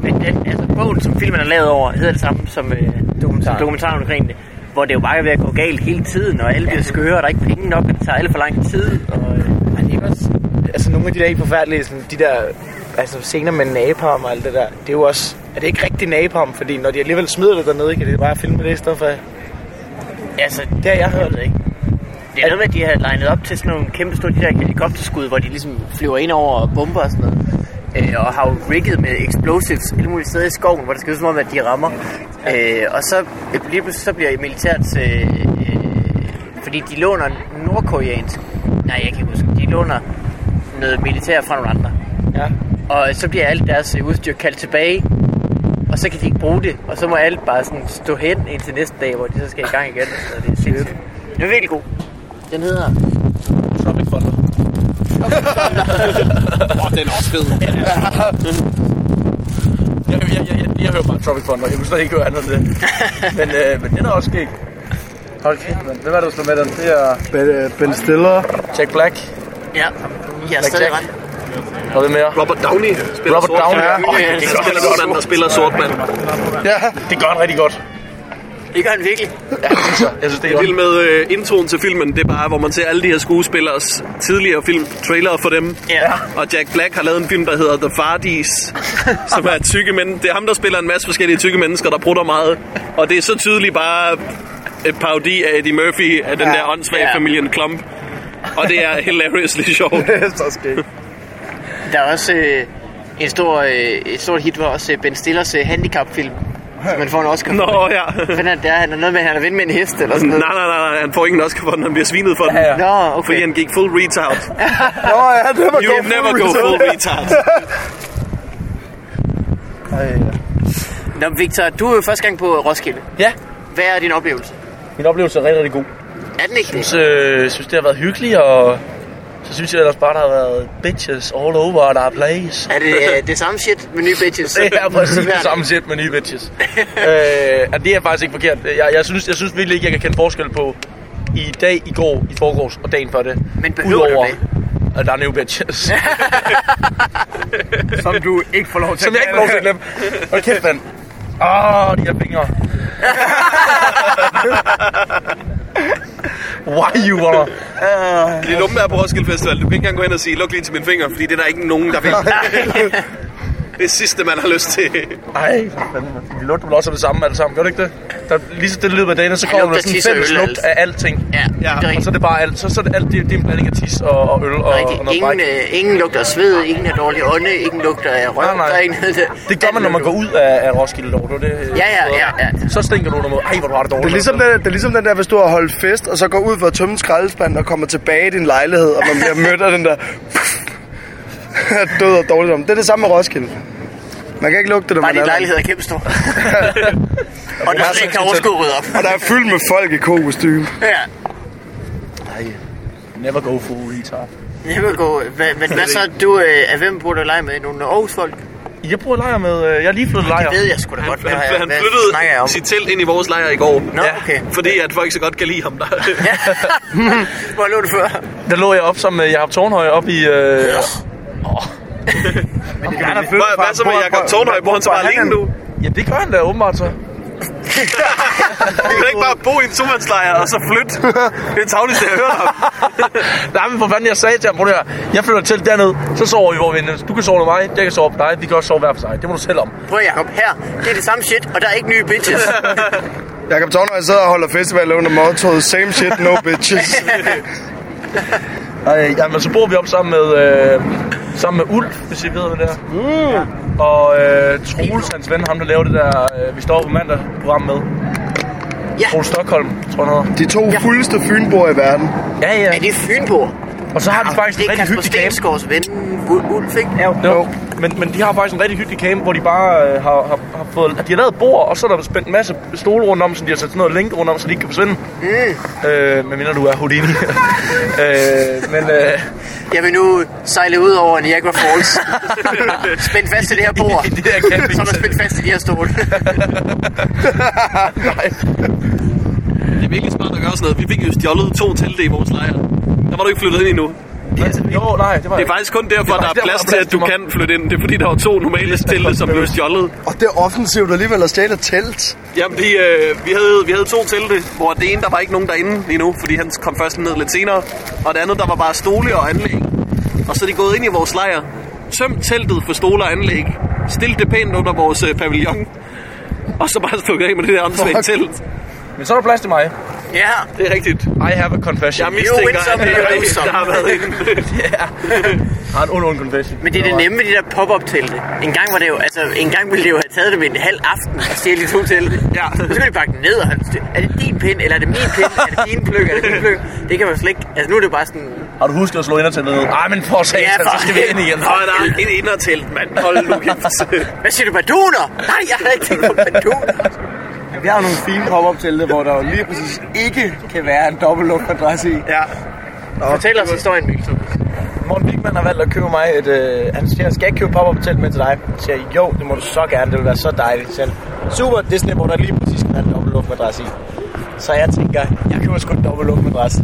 [SPEAKER 1] Men den, altså, bogen, som filmen er lavet over, hedder det samme som, øh, som dokumentaren omkring det. Hvor det jo bare er ved at gå galt hele tiden, og alle bliver skøre, og der er ikke penge nok, og det tager alle for lang tid. Og, øh,
[SPEAKER 4] Ej, det er også, altså nogle af de der helt forfærdelige, sådan, de der altså, scener med napalm og alt det der, det er jo også, er det ikke rigtig napalm, fordi når de alligevel smider det dernede, kan de bare filme det i stedet for, det
[SPEAKER 1] altså,
[SPEAKER 4] har jeg hørt.
[SPEAKER 1] det ikke. Det er noget med, at de har legnet op til sådan nogle kæmpe store de der helikopterskud, hvor de ligesom flyver ind over og bomber og sådan noget. Øh, og har jo rigget med explosives alle mulige steder i skoven, hvor det skal ud som om, at de rammer. Øh, og så øh, lige pludselig så bliver militært... Øh, øh, fordi de låner nordkoreansk... Nej, jeg kan ikke huske. De låner noget militær fra nogle andre.
[SPEAKER 4] Ja.
[SPEAKER 1] Og så bliver alt deres øh, udstyr kaldt tilbage, og så kan de ikke bruge det. Og så må alt bare sådan stå hen indtil næste dag, hvor de så skal i gang [LAUGHS] igen. Og det er sindssygt. Den er virkelig god. Den hedder...
[SPEAKER 2] Tropic Thunder. Åh, den er også fed.
[SPEAKER 5] Jeg, jeg, jeg, jeg, jeg hører bare Tropic Thunder. Jeg kunne slet ikke høre andet end det. men, øh, men den er også skæg. Hold kæft, mand. Hvem er det, du slår med den? Det er
[SPEAKER 3] Ben, øh, ben Stiller.
[SPEAKER 5] Jack Black.
[SPEAKER 1] Ja, jeg er stadig ret.
[SPEAKER 5] Og hvem mere?
[SPEAKER 2] Robert Downey spiller
[SPEAKER 5] Robert
[SPEAKER 2] sort
[SPEAKER 5] Downey, ja.
[SPEAKER 2] mand.
[SPEAKER 5] Åh, det er
[SPEAKER 2] Han
[SPEAKER 5] godt.
[SPEAKER 2] spiller godt, han der spiller sort mand.
[SPEAKER 3] Ja.
[SPEAKER 5] Det gør han rigtig godt.
[SPEAKER 1] Det gør han virkelig.
[SPEAKER 5] Jeg synes, det er
[SPEAKER 2] Jeg er
[SPEAKER 5] godt.
[SPEAKER 2] vild med øh, introen til filmen, det er bare, hvor man ser alle de her skuespillers tidligere film, trailer for dem.
[SPEAKER 1] Ja.
[SPEAKER 2] Og Jack Black har lavet en film, der hedder The Fardies, som er tykke mænd. Det er ham, der spiller en masse forskellige tykke mennesker, der brutter meget. Og det er så tydeligt bare et parodi af Eddie Murphy, af den ja. der åndssvage
[SPEAKER 1] Ja.
[SPEAKER 2] ja. familien Klump. Og det er hilariously [LAUGHS] sjovt.
[SPEAKER 1] Der er også øh, en stor, øh, et stort hit, var også øh, Ben Stillers øh, handicapfilm. som Man får en [LAUGHS] Oscar. for.
[SPEAKER 2] Nå ja.
[SPEAKER 1] Hvad fanden er det, der? er? Han er noget med, at han er ven med en hest eller sådan
[SPEAKER 2] Nej,
[SPEAKER 1] noget.
[SPEAKER 2] nej, nej, nej, han får ingen Oscar for den, han bliver svinet for den.
[SPEAKER 5] ja.
[SPEAKER 1] Nå,
[SPEAKER 2] Fordi
[SPEAKER 1] okay.
[SPEAKER 2] han gik full retard.
[SPEAKER 3] Nå ja, det var
[SPEAKER 2] You
[SPEAKER 3] godt.
[SPEAKER 2] never go full retard.
[SPEAKER 1] Nå, Victor, du er jo første gang på Roskilde.
[SPEAKER 5] Ja,
[SPEAKER 1] Hvad er din oplevelse?
[SPEAKER 5] min oplevelse er rigtig, rigtig god.
[SPEAKER 1] Er den ikke det?
[SPEAKER 5] Så øh, synes, det har været hyggeligt, og så synes jeg ellers bare, der har været bitches all over, og der er plays.
[SPEAKER 1] Er det øh, det samme shit med nye bitches?
[SPEAKER 4] [LAUGHS]
[SPEAKER 1] [LAUGHS]
[SPEAKER 5] Det er præcis
[SPEAKER 1] Hver
[SPEAKER 5] det samme sæt med nye bitches. [LAUGHS] øh, og det er faktisk ikke forkert. Jeg, jeg, synes, jeg synes virkelig ikke, jeg kan kende forskel på i dag, i går, i forgårs og dagen før det.
[SPEAKER 1] Men behøver du
[SPEAKER 5] at der er new bitches.
[SPEAKER 4] [LAUGHS] Som du ikke får lov til
[SPEAKER 5] som jeg ikke får lov til at glemme. Og kæft, mand. Åh, oh, de her
[SPEAKER 4] [LAUGHS]
[SPEAKER 5] fingre. Why you wanna...
[SPEAKER 2] Lige nummer er på Roskilde Festival. Du kan ikke engang gå hen og sige, luk lige til min finger, fordi det er der ikke
[SPEAKER 1] [LAUGHS]
[SPEAKER 2] nogen, der vil. det er sidste, man har lyst til.
[SPEAKER 5] Ej, for fanden, mand. Vi lugter vel også af det samme alle sammen, gør det ikke det? Der, lige så det lyder med dagen, så
[SPEAKER 1] Ja,
[SPEAKER 5] kommer
[SPEAKER 1] lugter
[SPEAKER 5] der sådan en
[SPEAKER 1] tis og
[SPEAKER 5] fælles
[SPEAKER 1] øl,
[SPEAKER 5] lugt
[SPEAKER 1] altså.
[SPEAKER 5] af alting.
[SPEAKER 1] Ja, det er
[SPEAKER 5] Og så
[SPEAKER 1] rigtigt.
[SPEAKER 5] er det bare alt. Så, så er det alt, det, det er en blanding af tis og, og øl og, og
[SPEAKER 1] Rigtig.
[SPEAKER 5] noget bræk.
[SPEAKER 1] Ingen, øh, ingen lugter af sved, ingen af dårlig ånde, ingen lugter af røv.
[SPEAKER 5] Nej, nej.
[SPEAKER 1] Der er ingen,
[SPEAKER 5] Det gør man, når man
[SPEAKER 1] [LAUGHS]
[SPEAKER 5] går ud af, af Roskilde Lov. Det, det,
[SPEAKER 1] øh, Ja, ja, ja, ja.
[SPEAKER 5] Så stinker du under mod. Ej, hvor du har det dårligt. altså.
[SPEAKER 3] Det er, ligesom
[SPEAKER 5] det.
[SPEAKER 3] den, det er ligesom den der, hvis du har holdt fest, og så går ud for at tømme en skraldespand og kommer tilbage i din lejlighed, og man bliver mødt af den der... [LAUGHS] død og dårligdom. Det er det samme med Roskilde. Man kan ikke lugte det, når
[SPEAKER 1] Bare
[SPEAKER 3] man er
[SPEAKER 1] din
[SPEAKER 3] der.
[SPEAKER 1] lejlighed er kæmpe
[SPEAKER 5] [LAUGHS]
[SPEAKER 1] stor. og der er slet ikke overskud rydde op.
[SPEAKER 3] Og der er fyldt med folk i kokostyme.
[SPEAKER 1] Ja.
[SPEAKER 5] Never go full retard.
[SPEAKER 1] Jeg vil gå. Hvad, men hvad så? Du, øh, af hvem burde du lege med? Nogle Aarhus folk?
[SPEAKER 5] Jeg bruger lejr med... øh, Jeg er lige flyttet lejr.
[SPEAKER 1] Det ved jeg sgu da godt, hvad,
[SPEAKER 2] Han,
[SPEAKER 1] hvad
[SPEAKER 2] han
[SPEAKER 1] snakker jeg
[SPEAKER 2] flyttede
[SPEAKER 1] om.
[SPEAKER 2] sit telt ind i vores lejr i går.
[SPEAKER 1] Nå, okay.
[SPEAKER 2] Fordi at folk så godt kan lide ham
[SPEAKER 1] [LAUGHS]
[SPEAKER 2] der.
[SPEAKER 1] Hvor lå du før?
[SPEAKER 5] Der lå jeg op som uh, Jacob Tornhøj op i... Øh,
[SPEAKER 2] Hvad, hvad så med Jacob Tornhøj? Bor han så bare alene nu?
[SPEAKER 5] ja, det gør han da åbenbart så.
[SPEAKER 2] Han kan da ikke bare bo i en tomandslejr og så flytte. Det er tavligste, jeg har hørt ham.
[SPEAKER 5] Nej, men for fanden, jeg sagde til ham, prøv lige at høre, jeg flytter til derned, så sover vi, hvor vi er. Du kan sove med mig, jeg kan sove med dig, vi kan også sove hver for sig. Det må du selv om.
[SPEAKER 1] Prøv Jacob, her. Det er det samme shit, og der er ikke nye
[SPEAKER 5] [LAUGHS]
[SPEAKER 1] bitches.
[SPEAKER 3] Jakob Tornhøj sidder og holder festival under mottoet Same shit, no bitches.
[SPEAKER 5] Ej, jamen, så bor vi op sammen med, øh, sammen med Ulf, hvis I ved, hvad det er. Mm. Ja. Og øh, Troels, hans ven, ham der laver det der, øh, vi står på mandag program med.
[SPEAKER 1] Ja.
[SPEAKER 5] Troels Stockholm, tror jeg han hedder.
[SPEAKER 3] De to fuldeste fynboer i verden.
[SPEAKER 5] Ja,
[SPEAKER 1] er
[SPEAKER 5] ja.
[SPEAKER 1] det Fynborg?
[SPEAKER 5] Og så har de faktisk
[SPEAKER 1] Det
[SPEAKER 5] en
[SPEAKER 1] er
[SPEAKER 5] rigtig
[SPEAKER 1] Kasper
[SPEAKER 5] hyggelig camp.
[SPEAKER 1] Stensgaards ven, Ul- Ulf, ikke?
[SPEAKER 5] Jo. Men, men de har faktisk en rigtig hyggelig camp, hvor de bare øh, har, har, har fået... De har lavet bord, og så er der spændt en masse stole rundt om, så de har sat sådan noget længe rundt om, så de ikke kan forsvinde. Mm. Øh, men mindre du er Houdini. [LAUGHS] øh, men øh,
[SPEAKER 1] Jeg vil nu sejle ud over Niagara
[SPEAKER 5] [LAUGHS]
[SPEAKER 1] Falls. Spænd fast til det her bord.
[SPEAKER 5] i det her camping...
[SPEAKER 1] Så er der spændt fast i de her stole.
[SPEAKER 5] Nej.
[SPEAKER 2] Det er virkelig smart at gøre sådan noget. Vi fik jo stjålet to telte i vores lejr. Der var du ikke flyttet ind endnu.
[SPEAKER 5] Jo, Nå, nej, det
[SPEAKER 2] Det
[SPEAKER 5] var
[SPEAKER 2] er
[SPEAKER 5] jeg
[SPEAKER 2] faktisk kun derfor, der er plads til, at du kan flytte ind. Det er fordi, der var to normale stille, som blev stjålet.
[SPEAKER 3] Og det er offensivt alligevel at stjæle et telt.
[SPEAKER 2] Jamen, de, øh, vi, havde, vi havde to telte, hvor det ene, der var ikke nogen derinde lige nu, fordi han kom først ned lidt senere. Og det andet, der var bare stole og anlæg. Og så er de gået ind i vores lejr, tømt teltet for stole og anlæg, stillet det pænt under vores øh, pavillon, og så bare stukket af med det der åndssvagt telt.
[SPEAKER 5] ikke. Men så er der plads til mig.
[SPEAKER 1] [LAUGHS] Ja,
[SPEAKER 2] Det er rigtigt.
[SPEAKER 5] I have a confession.
[SPEAKER 2] Jeg mistænker,
[SPEAKER 1] some,
[SPEAKER 2] at det
[SPEAKER 1] you
[SPEAKER 2] er
[SPEAKER 1] win
[SPEAKER 2] rigtigt,
[SPEAKER 1] some.
[SPEAKER 2] der har været inde.
[SPEAKER 5] har en ond, ond confession.
[SPEAKER 1] men det er det nemme med de der pop-up telte. En gang, var det jo, altså, en gang ville det jo have taget dem en halv aften og stjæle de to telte.
[SPEAKER 2] Ja.
[SPEAKER 1] Så skulle de pakke den ned og holde styr. Er det din pind, eller er det min pind, er det din pløk, er det din pløk? Det kan man slet ikke. Altså nu er det bare sådan...
[SPEAKER 5] Har du husket at slå ind og ned? Nej, men for satan,
[SPEAKER 1] Ja,
[SPEAKER 5] så
[SPEAKER 1] for
[SPEAKER 5] skal vi ind igen.
[SPEAKER 2] Nå, der
[SPEAKER 1] [LAUGHS]
[SPEAKER 2] er et indertelt, mand. Hold nu kæft.
[SPEAKER 1] Hvad siger du, badoner? Nej, jeg har ikke tænkt på badoner.
[SPEAKER 4] Vi har nogle fine pop-up telte, hvor der jo lige præcis ikke kan være en dobbeltlukadresse i.
[SPEAKER 1] Ja. Fortæl os historien, Mikkel.
[SPEAKER 4] Morten Wigman har valgt at købe mig et... Øh, han siger, skal jeg ikke købe pop-up telt med til dig? Jeg siger, jo, det må du så gerne, det vil være så dejligt selv. Super Disney, hvor der lige præcis kan have en dobbeltluftmadras i. Så jeg tænker, jeg køber sgu en dobbeltluftmadras.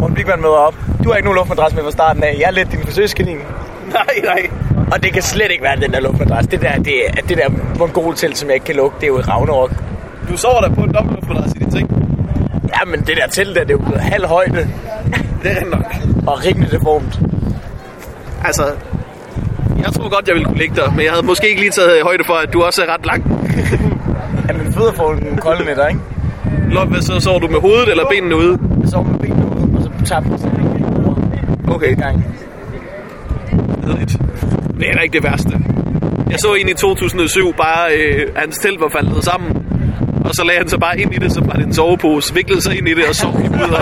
[SPEAKER 4] Morten Wigman møder op. Du har ikke nogen luftmadras med fra starten af. Jeg er lidt din forsøgskanin.
[SPEAKER 2] [LAUGHS] Nej, nej.
[SPEAKER 4] Og det kan slet ikke være den der luftmadras. Det der, det, det der mongoltelt, som jeg ikke kan lukke, det er jo et Ragnarok.
[SPEAKER 2] Du sover der på en dobbeltluftmadras i dit ting.
[SPEAKER 4] Ja, men det der telt der, det er jo blevet halv højde
[SPEAKER 2] Det er rent nok.
[SPEAKER 4] og rimelig deformt.
[SPEAKER 2] Altså, jeg tror godt, jeg ville kunne ligge der, men jeg havde måske ikke lige taget højde for, at du også er ret lang.
[SPEAKER 4] Jamen, fødder får en kolde med dig, ikke?
[SPEAKER 2] Lop, hvad så sover du med hovedet eller benene ude?
[SPEAKER 4] Jeg sover med benene ude, og så tabte jeg sådan en over
[SPEAKER 2] Okay,
[SPEAKER 4] en gang.
[SPEAKER 2] kedeligt. Det er ikke det værste. Jeg så en i 2007, bare øh, hans telt var faldet sammen. Og så lagde han sig bare ind i det, så var det en sovepose, viklede sig ind i det og sov i mudder.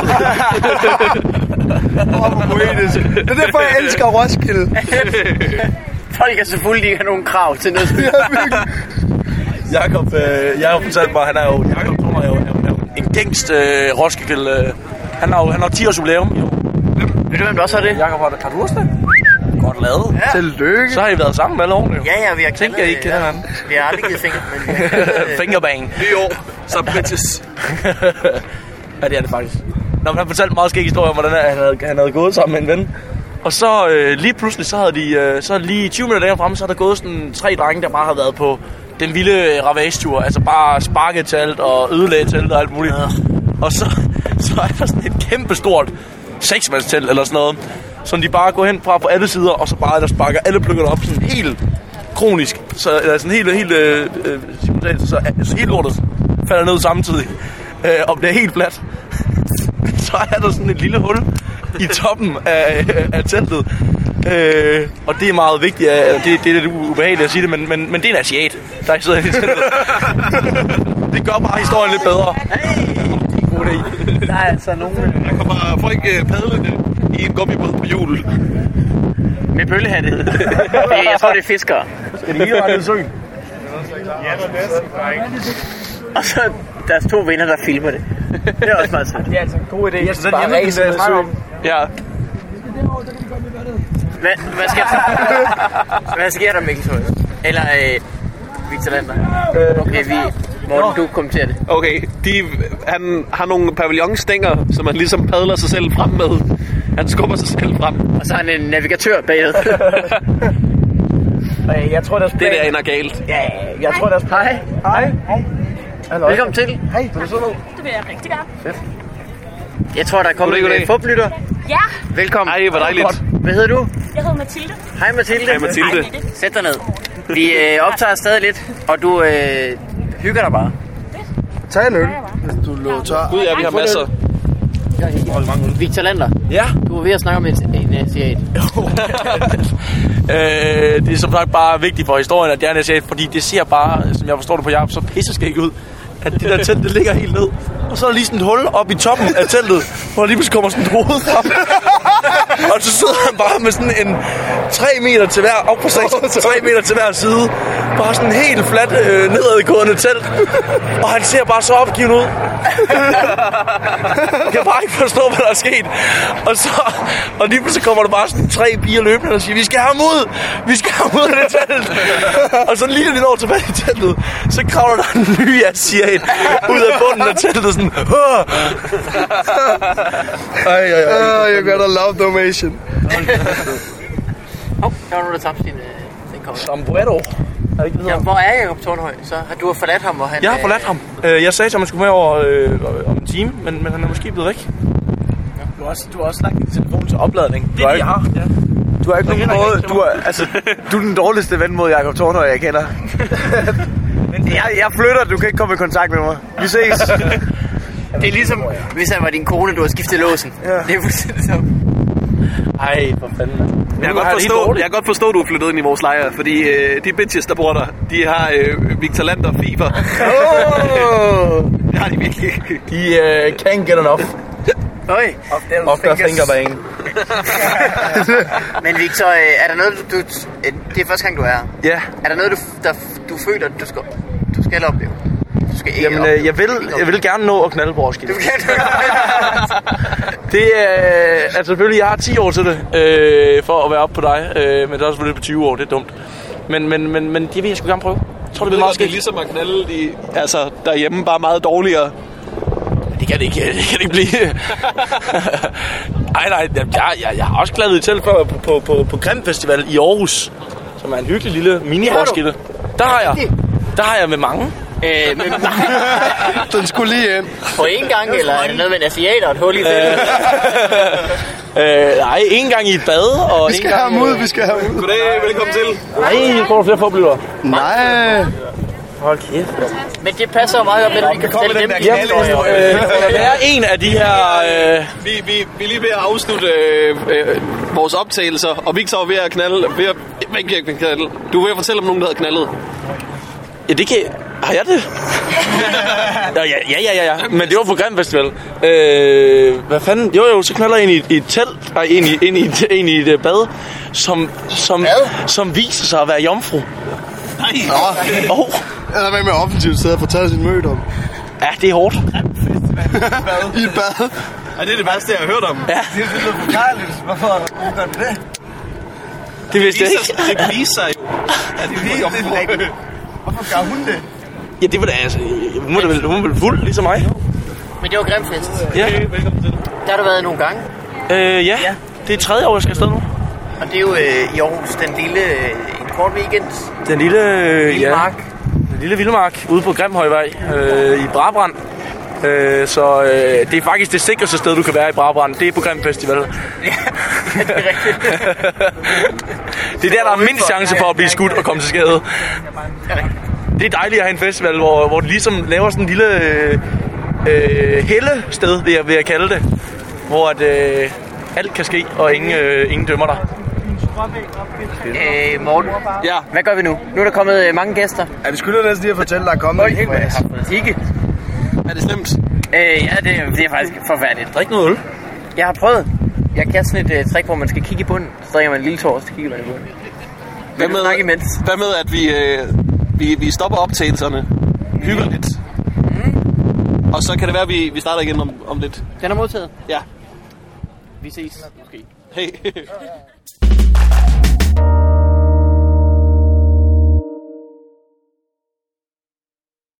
[SPEAKER 3] Åh, hvor poetisk. Det er derfor, jeg elsker Roskilde.
[SPEAKER 1] Folk er selvfølgelig ikke har nogen krav til noget.
[SPEAKER 3] Ja, virkelig.
[SPEAKER 5] Jakob, øh, Jakob fortalte mig, han er jo, Jakob Brummer er jo, er jo- er jo en gængst øh, Roskilde. Øh, han har jo han har 10 års jubilæum i år.
[SPEAKER 1] Ved du, hvem der også har det?
[SPEAKER 5] Jakob, har, du- har du også det? Godt lavet. Ja.
[SPEAKER 3] Tillykke.
[SPEAKER 5] Så har I været sammen alle årene jo.
[SPEAKER 1] Ja, ja, vi har
[SPEAKER 5] Tænk,
[SPEAKER 1] knaldet,
[SPEAKER 5] jeg ikke kender
[SPEAKER 1] ja.
[SPEAKER 5] ham.
[SPEAKER 1] Vi har aldrig givet finger, men vi har knaldet, øh,
[SPEAKER 5] [LAUGHS] Fingerbang.
[SPEAKER 2] Nyår, så bitches.
[SPEAKER 5] Ja, det er det faktisk. Nå, men han fortalte en meget skæg historie om, hvordan han havde, han havde gået sammen med en ven. Og så øh, lige pludselig, så havde de, øh, så lige 20 minutter længere fremme, så havde der gået sådan tre drenge, der bare havde været på den vilde ravagetur. Altså bare sparket telt og ødelagt telt og alt muligt. Og så, [LAUGHS] så er der sådan et kæmpestort seksmandstelt eller sådan noget, som de bare går hen fra på alle sider, og så bare der sparker alle pløkkerne op sådan helt kronisk. Så, eller sådan helt, helt, øh, øh, simultant, så, så helt lortet falder ned samtidig. [LAUGHS] Øh, og det er helt fladt [LAUGHS] så er der sådan et lille hul i toppen af, af teltet. Øh, og det er meget vigtigt, at, det, det er lidt ubehageligt at sige det, men, men, men det er en asiat, der sidder inde i teltet. [LAUGHS] det gør bare historien lidt bedre.
[SPEAKER 4] Der er altså nogen...
[SPEAKER 2] Der kommer folk øh, padlende i en gummibåd på hjul.
[SPEAKER 1] Med bøllehatte. [LAUGHS] Det- Jeg tror, det er fiskere.
[SPEAKER 4] Skal de hele vejen søen?
[SPEAKER 1] Og så deres to venner, der filmer det. Det er også meget sødt.
[SPEAKER 4] Det er altså en god idé. Jeg synes,
[SPEAKER 5] Bare hjemme, ræse den der, ned jeg snakker søen. Ja,
[SPEAKER 1] Hvad, hvad, sker, hvad sker der, Mikkel Thorsen? Eller øh, Victor Lander? Okay, vi... Morten, du kommenterer det.
[SPEAKER 2] Okay, de, han har nogle pavillonstænger, som han ligesom padler sig selv frem med. Han skubber sig selv frem.
[SPEAKER 1] Og så har han en navigatør bagved.
[SPEAKER 4] Øh, Jeg tror, deres
[SPEAKER 2] Det der
[SPEAKER 4] plan...
[SPEAKER 2] ender galt.
[SPEAKER 4] Ja, jeg tror, deres plan...
[SPEAKER 1] Hej.
[SPEAKER 4] Hej. Hallo.
[SPEAKER 1] Velkommen til.
[SPEAKER 4] Hej, vil du så noget?
[SPEAKER 6] Det vil jeg rigtig gerne.
[SPEAKER 1] Jeg tror, der er kommet
[SPEAKER 2] Goddag, goddag.
[SPEAKER 1] en fublytter.
[SPEAKER 6] Ja,
[SPEAKER 1] Velkommen.
[SPEAKER 2] Ej, hvor dejligt.
[SPEAKER 1] Hvad hedder du?
[SPEAKER 6] jeg hedder Mathilde.
[SPEAKER 1] Hej Mathilde.
[SPEAKER 2] Hej, Mathilde.
[SPEAKER 6] Hej, Mette.
[SPEAKER 1] Sæt dig ned. Vi øh, optager stadig lidt, og du øh, hygger dig bare.
[SPEAKER 3] Tag en øl, hvis du lå tør.
[SPEAKER 2] Gud, ja, vi har masser.
[SPEAKER 1] Victor Lander,
[SPEAKER 5] Ja.
[SPEAKER 1] du var ved at snakke om en, en
[SPEAKER 5] [LAUGHS]
[SPEAKER 1] asiat.
[SPEAKER 5] øh, det er som sagt bare vigtigt for historien, at jeg er en asiat, fordi det ser bare, som jeg forstår det på Jarp, så pisseskægt ud, at det der telt, det ligger helt ned. Og så er der lige sådan et hul op i toppen af teltet, hvor der lige pludselig kommer sådan et hoved
[SPEAKER 1] [LAUGHS]
[SPEAKER 5] frem. og så sidder han bare med sådan en 3 meter til hver, op på
[SPEAKER 1] [LAUGHS]
[SPEAKER 5] 6, 3 meter til hver side. Bare sådan helt fladt øh, nedadgående telt. Og han ser bare så opgivet ud. Jeg kan bare ikke forstå, hvad der er sket. Og så, og lige pludselig kommer der bare sådan tre piger løbende og siger, vi skal have ham ud! Vi skal have ham ud af det telt! og så lige når vi når tilbage i teltet, så kravler der en ny asiat ud af bunden af teltet sådan, Åh!
[SPEAKER 3] Ej, ej, ej. You're gonna Ah, love them, Situation.
[SPEAKER 1] Hov, der var nogen, der tabte sin, øh, sin kommer.
[SPEAKER 5] Sombrero.
[SPEAKER 1] Ja, hvor er Jacob Tornhøj så? Har du har forladt ham, og han...
[SPEAKER 7] Jeg har forladt ham. Øh, jeg sagde til ham, at han skulle med over øh, om en time, men, men han er måske blevet væk.
[SPEAKER 5] Du har også, du har også lagt din telefon til opladning.
[SPEAKER 7] Det er det, jeg har. Ja.
[SPEAKER 5] Du har ikke nogen
[SPEAKER 7] heller ikke
[SPEAKER 5] måde...
[SPEAKER 7] rigtig
[SPEAKER 5] Du er, altså, du er den dårligste ven mod Jakob Tornhøj, jeg
[SPEAKER 7] [LAUGHS]
[SPEAKER 5] kender. Men jeg, jeg flytter, du kan ikke komme i kontakt med mig. Vi ses.
[SPEAKER 1] Det er ligesom, hvis han var din kone, du har skiftet låsen. Ja. Det er fuldstændig så.
[SPEAKER 5] Ej, for fanden.
[SPEAKER 2] Jeg kan,
[SPEAKER 5] har
[SPEAKER 2] godt
[SPEAKER 5] det
[SPEAKER 7] [LAUGHS]
[SPEAKER 5] helt
[SPEAKER 2] forstå,
[SPEAKER 5] dårligt.
[SPEAKER 2] jeg kan godt forstå, du er flyttet ind i vores lejr, fordi øh, de bitches, der bor der, de har øh, Victor Lander fever. [LAUGHS]
[SPEAKER 5] Oh,
[SPEAKER 2] det har de virkelig.
[SPEAKER 5] de
[SPEAKER 7] øh,
[SPEAKER 5] uh, can't get enough
[SPEAKER 1] Øj,
[SPEAKER 5] of their finger bang.
[SPEAKER 1] men Victor, øh, er der noget, du... du- øh, Det er første gang, du er her.
[SPEAKER 5] Ja,
[SPEAKER 1] Er der noget, du, f- der, f- du føler, du skal, du skal opleve? Du skal ikke
[SPEAKER 5] jamen
[SPEAKER 1] opleve.
[SPEAKER 5] øh, jeg, vil, jeg vil gerne nå at knalde på Roskilde.
[SPEAKER 1] Du kan
[SPEAKER 5] Det er... Øh, altså selvfølgelig, jeg har 10 år til det, øh, for at være oppe på dig. Øh, men der er selvfølgelig på 20 år, det er dumt. Men, men, men, men det vil jeg sgu gerne prøve. Jeg tror, det bliver meget
[SPEAKER 2] Det er
[SPEAKER 5] skidt.
[SPEAKER 2] ligesom at knalde de, altså, derhjemme bare meget dårligere.
[SPEAKER 5] Det kan det ikke, det kan det ikke
[SPEAKER 2] [LAUGHS]
[SPEAKER 5] blive. Ej, nej, jeg, jeg, jeg har også glædet til før på, på, på, på Grim Festival i Aarhus, som er en hyggelig lille mini Roskilde. Der har jeg. Der har jeg med mange.
[SPEAKER 1] øh, men
[SPEAKER 3] Den skulle lige ind.
[SPEAKER 1] på én gang, eller er det noget med [LAUGHS] en asiater og et hul i det?
[SPEAKER 5] Øh, nej, en gang i et bad, og
[SPEAKER 3] Vi
[SPEAKER 5] en
[SPEAKER 3] skal
[SPEAKER 5] gang...
[SPEAKER 3] have ham ud, vi skal have ham ud.
[SPEAKER 2] Goddag, velkommen til.
[SPEAKER 5] Nej, nu får du flere forblyver.
[SPEAKER 3] Nej.
[SPEAKER 5] Hold kæft.
[SPEAKER 1] Men det passer jo meget godt med, at vi kan fortælle dem.
[SPEAKER 5] Jamen, øh, der er en af de her... Øh,
[SPEAKER 2] Vi, vi, vi er lige ved at afslutte øh, øh, vores optagelser, og Victor er ved at knalde. Ved at, hvad ikke ved at knalde? Du er ved at fortælle om nogen, der havde knaldet.
[SPEAKER 5] ja, det kan... Har jeg
[SPEAKER 2] [LAUGHS]
[SPEAKER 5] det? Nå, ja, ja, ja, ja, ja. Men det var på Grim Festival. Øh, hvad fanden? Jo, jo, så knalder jeg ind i, et- i et telt. Nej, ind i, ind i, et- ind i et øh, bad. Som, som, som viser sig at være jomfru.
[SPEAKER 3] Nå,
[SPEAKER 5] Åh, oh,
[SPEAKER 3] jeg er med med offensivt sidder og fortæller sin møde om.
[SPEAKER 5] ja, det er hårdt.
[SPEAKER 3] [LAUGHS] I et bad.
[SPEAKER 2] Er det det værste, jeg har hørt om? Ja.
[SPEAKER 5] Det vidste jeg
[SPEAKER 2] Det,
[SPEAKER 5] ikke.
[SPEAKER 2] det viser sig jo. at det er jomfru.
[SPEAKER 5] Ja, det var da altså... Hun var da vel, hun var vel fuld, ligesom mig.
[SPEAKER 1] Men det var Grimfest.
[SPEAKER 5] Ja.
[SPEAKER 1] Der har du været nogle gange.
[SPEAKER 5] Øh, ja. Det er tredje år, jeg skal afsted nu.
[SPEAKER 1] Og det er jo øh, i Aarhus den lille, øh, en kort weekend.
[SPEAKER 5] Den lille... øh,
[SPEAKER 1] Lille
[SPEAKER 5] ja.
[SPEAKER 1] mark.
[SPEAKER 5] Den lille vildmark ude på Grimhøjvej øh, i Brabrand. Øh, så øh, det er faktisk det sikreste sted, du kan være i Brabrand. Det er på Grim Festival.
[SPEAKER 1] det er rigtigt.
[SPEAKER 5] [LAUGHS] Det er der, der er mindst chance for at blive skudt og komme til skade. Det er dejligt at have en festival, hvor, hvor de ligesom laver sådan en lille øh, øh, hellested, vil jeg, vil jeg kalde det. Hvor at, øh, alt kan ske, og ingen, øh, ingen dømmer dig.
[SPEAKER 1] Øh, Morten,
[SPEAKER 2] Ja.
[SPEAKER 1] hvad gør vi nu? Nu er der kommet øh, mange gæster.
[SPEAKER 3] Ja, vi skylder næsten lige at fortælle, der er kommet en fra jeres.
[SPEAKER 1] Ikke?
[SPEAKER 2] Er det slemt?
[SPEAKER 1] Øh, ja, det, er- det er faktisk forfærdeligt.
[SPEAKER 5] Drik noget øl.
[SPEAKER 1] Jeg har prøvet. Jeg kan sådan et øh, trick, hvor man skal kigge i bunden. Så drikker man en lille tår, og så kigger man i bunden.
[SPEAKER 2] Hvad
[SPEAKER 1] du snakke imens?
[SPEAKER 2] hvad med at vi, øh, vi, vi stopper optagelserne? Hygger lidt. Og så kan det være, at vi, vi starter igen om, om lidt.
[SPEAKER 1] Den er modtaget.
[SPEAKER 2] Ja.
[SPEAKER 1] Vi ses. Måske.
[SPEAKER 2] Hey.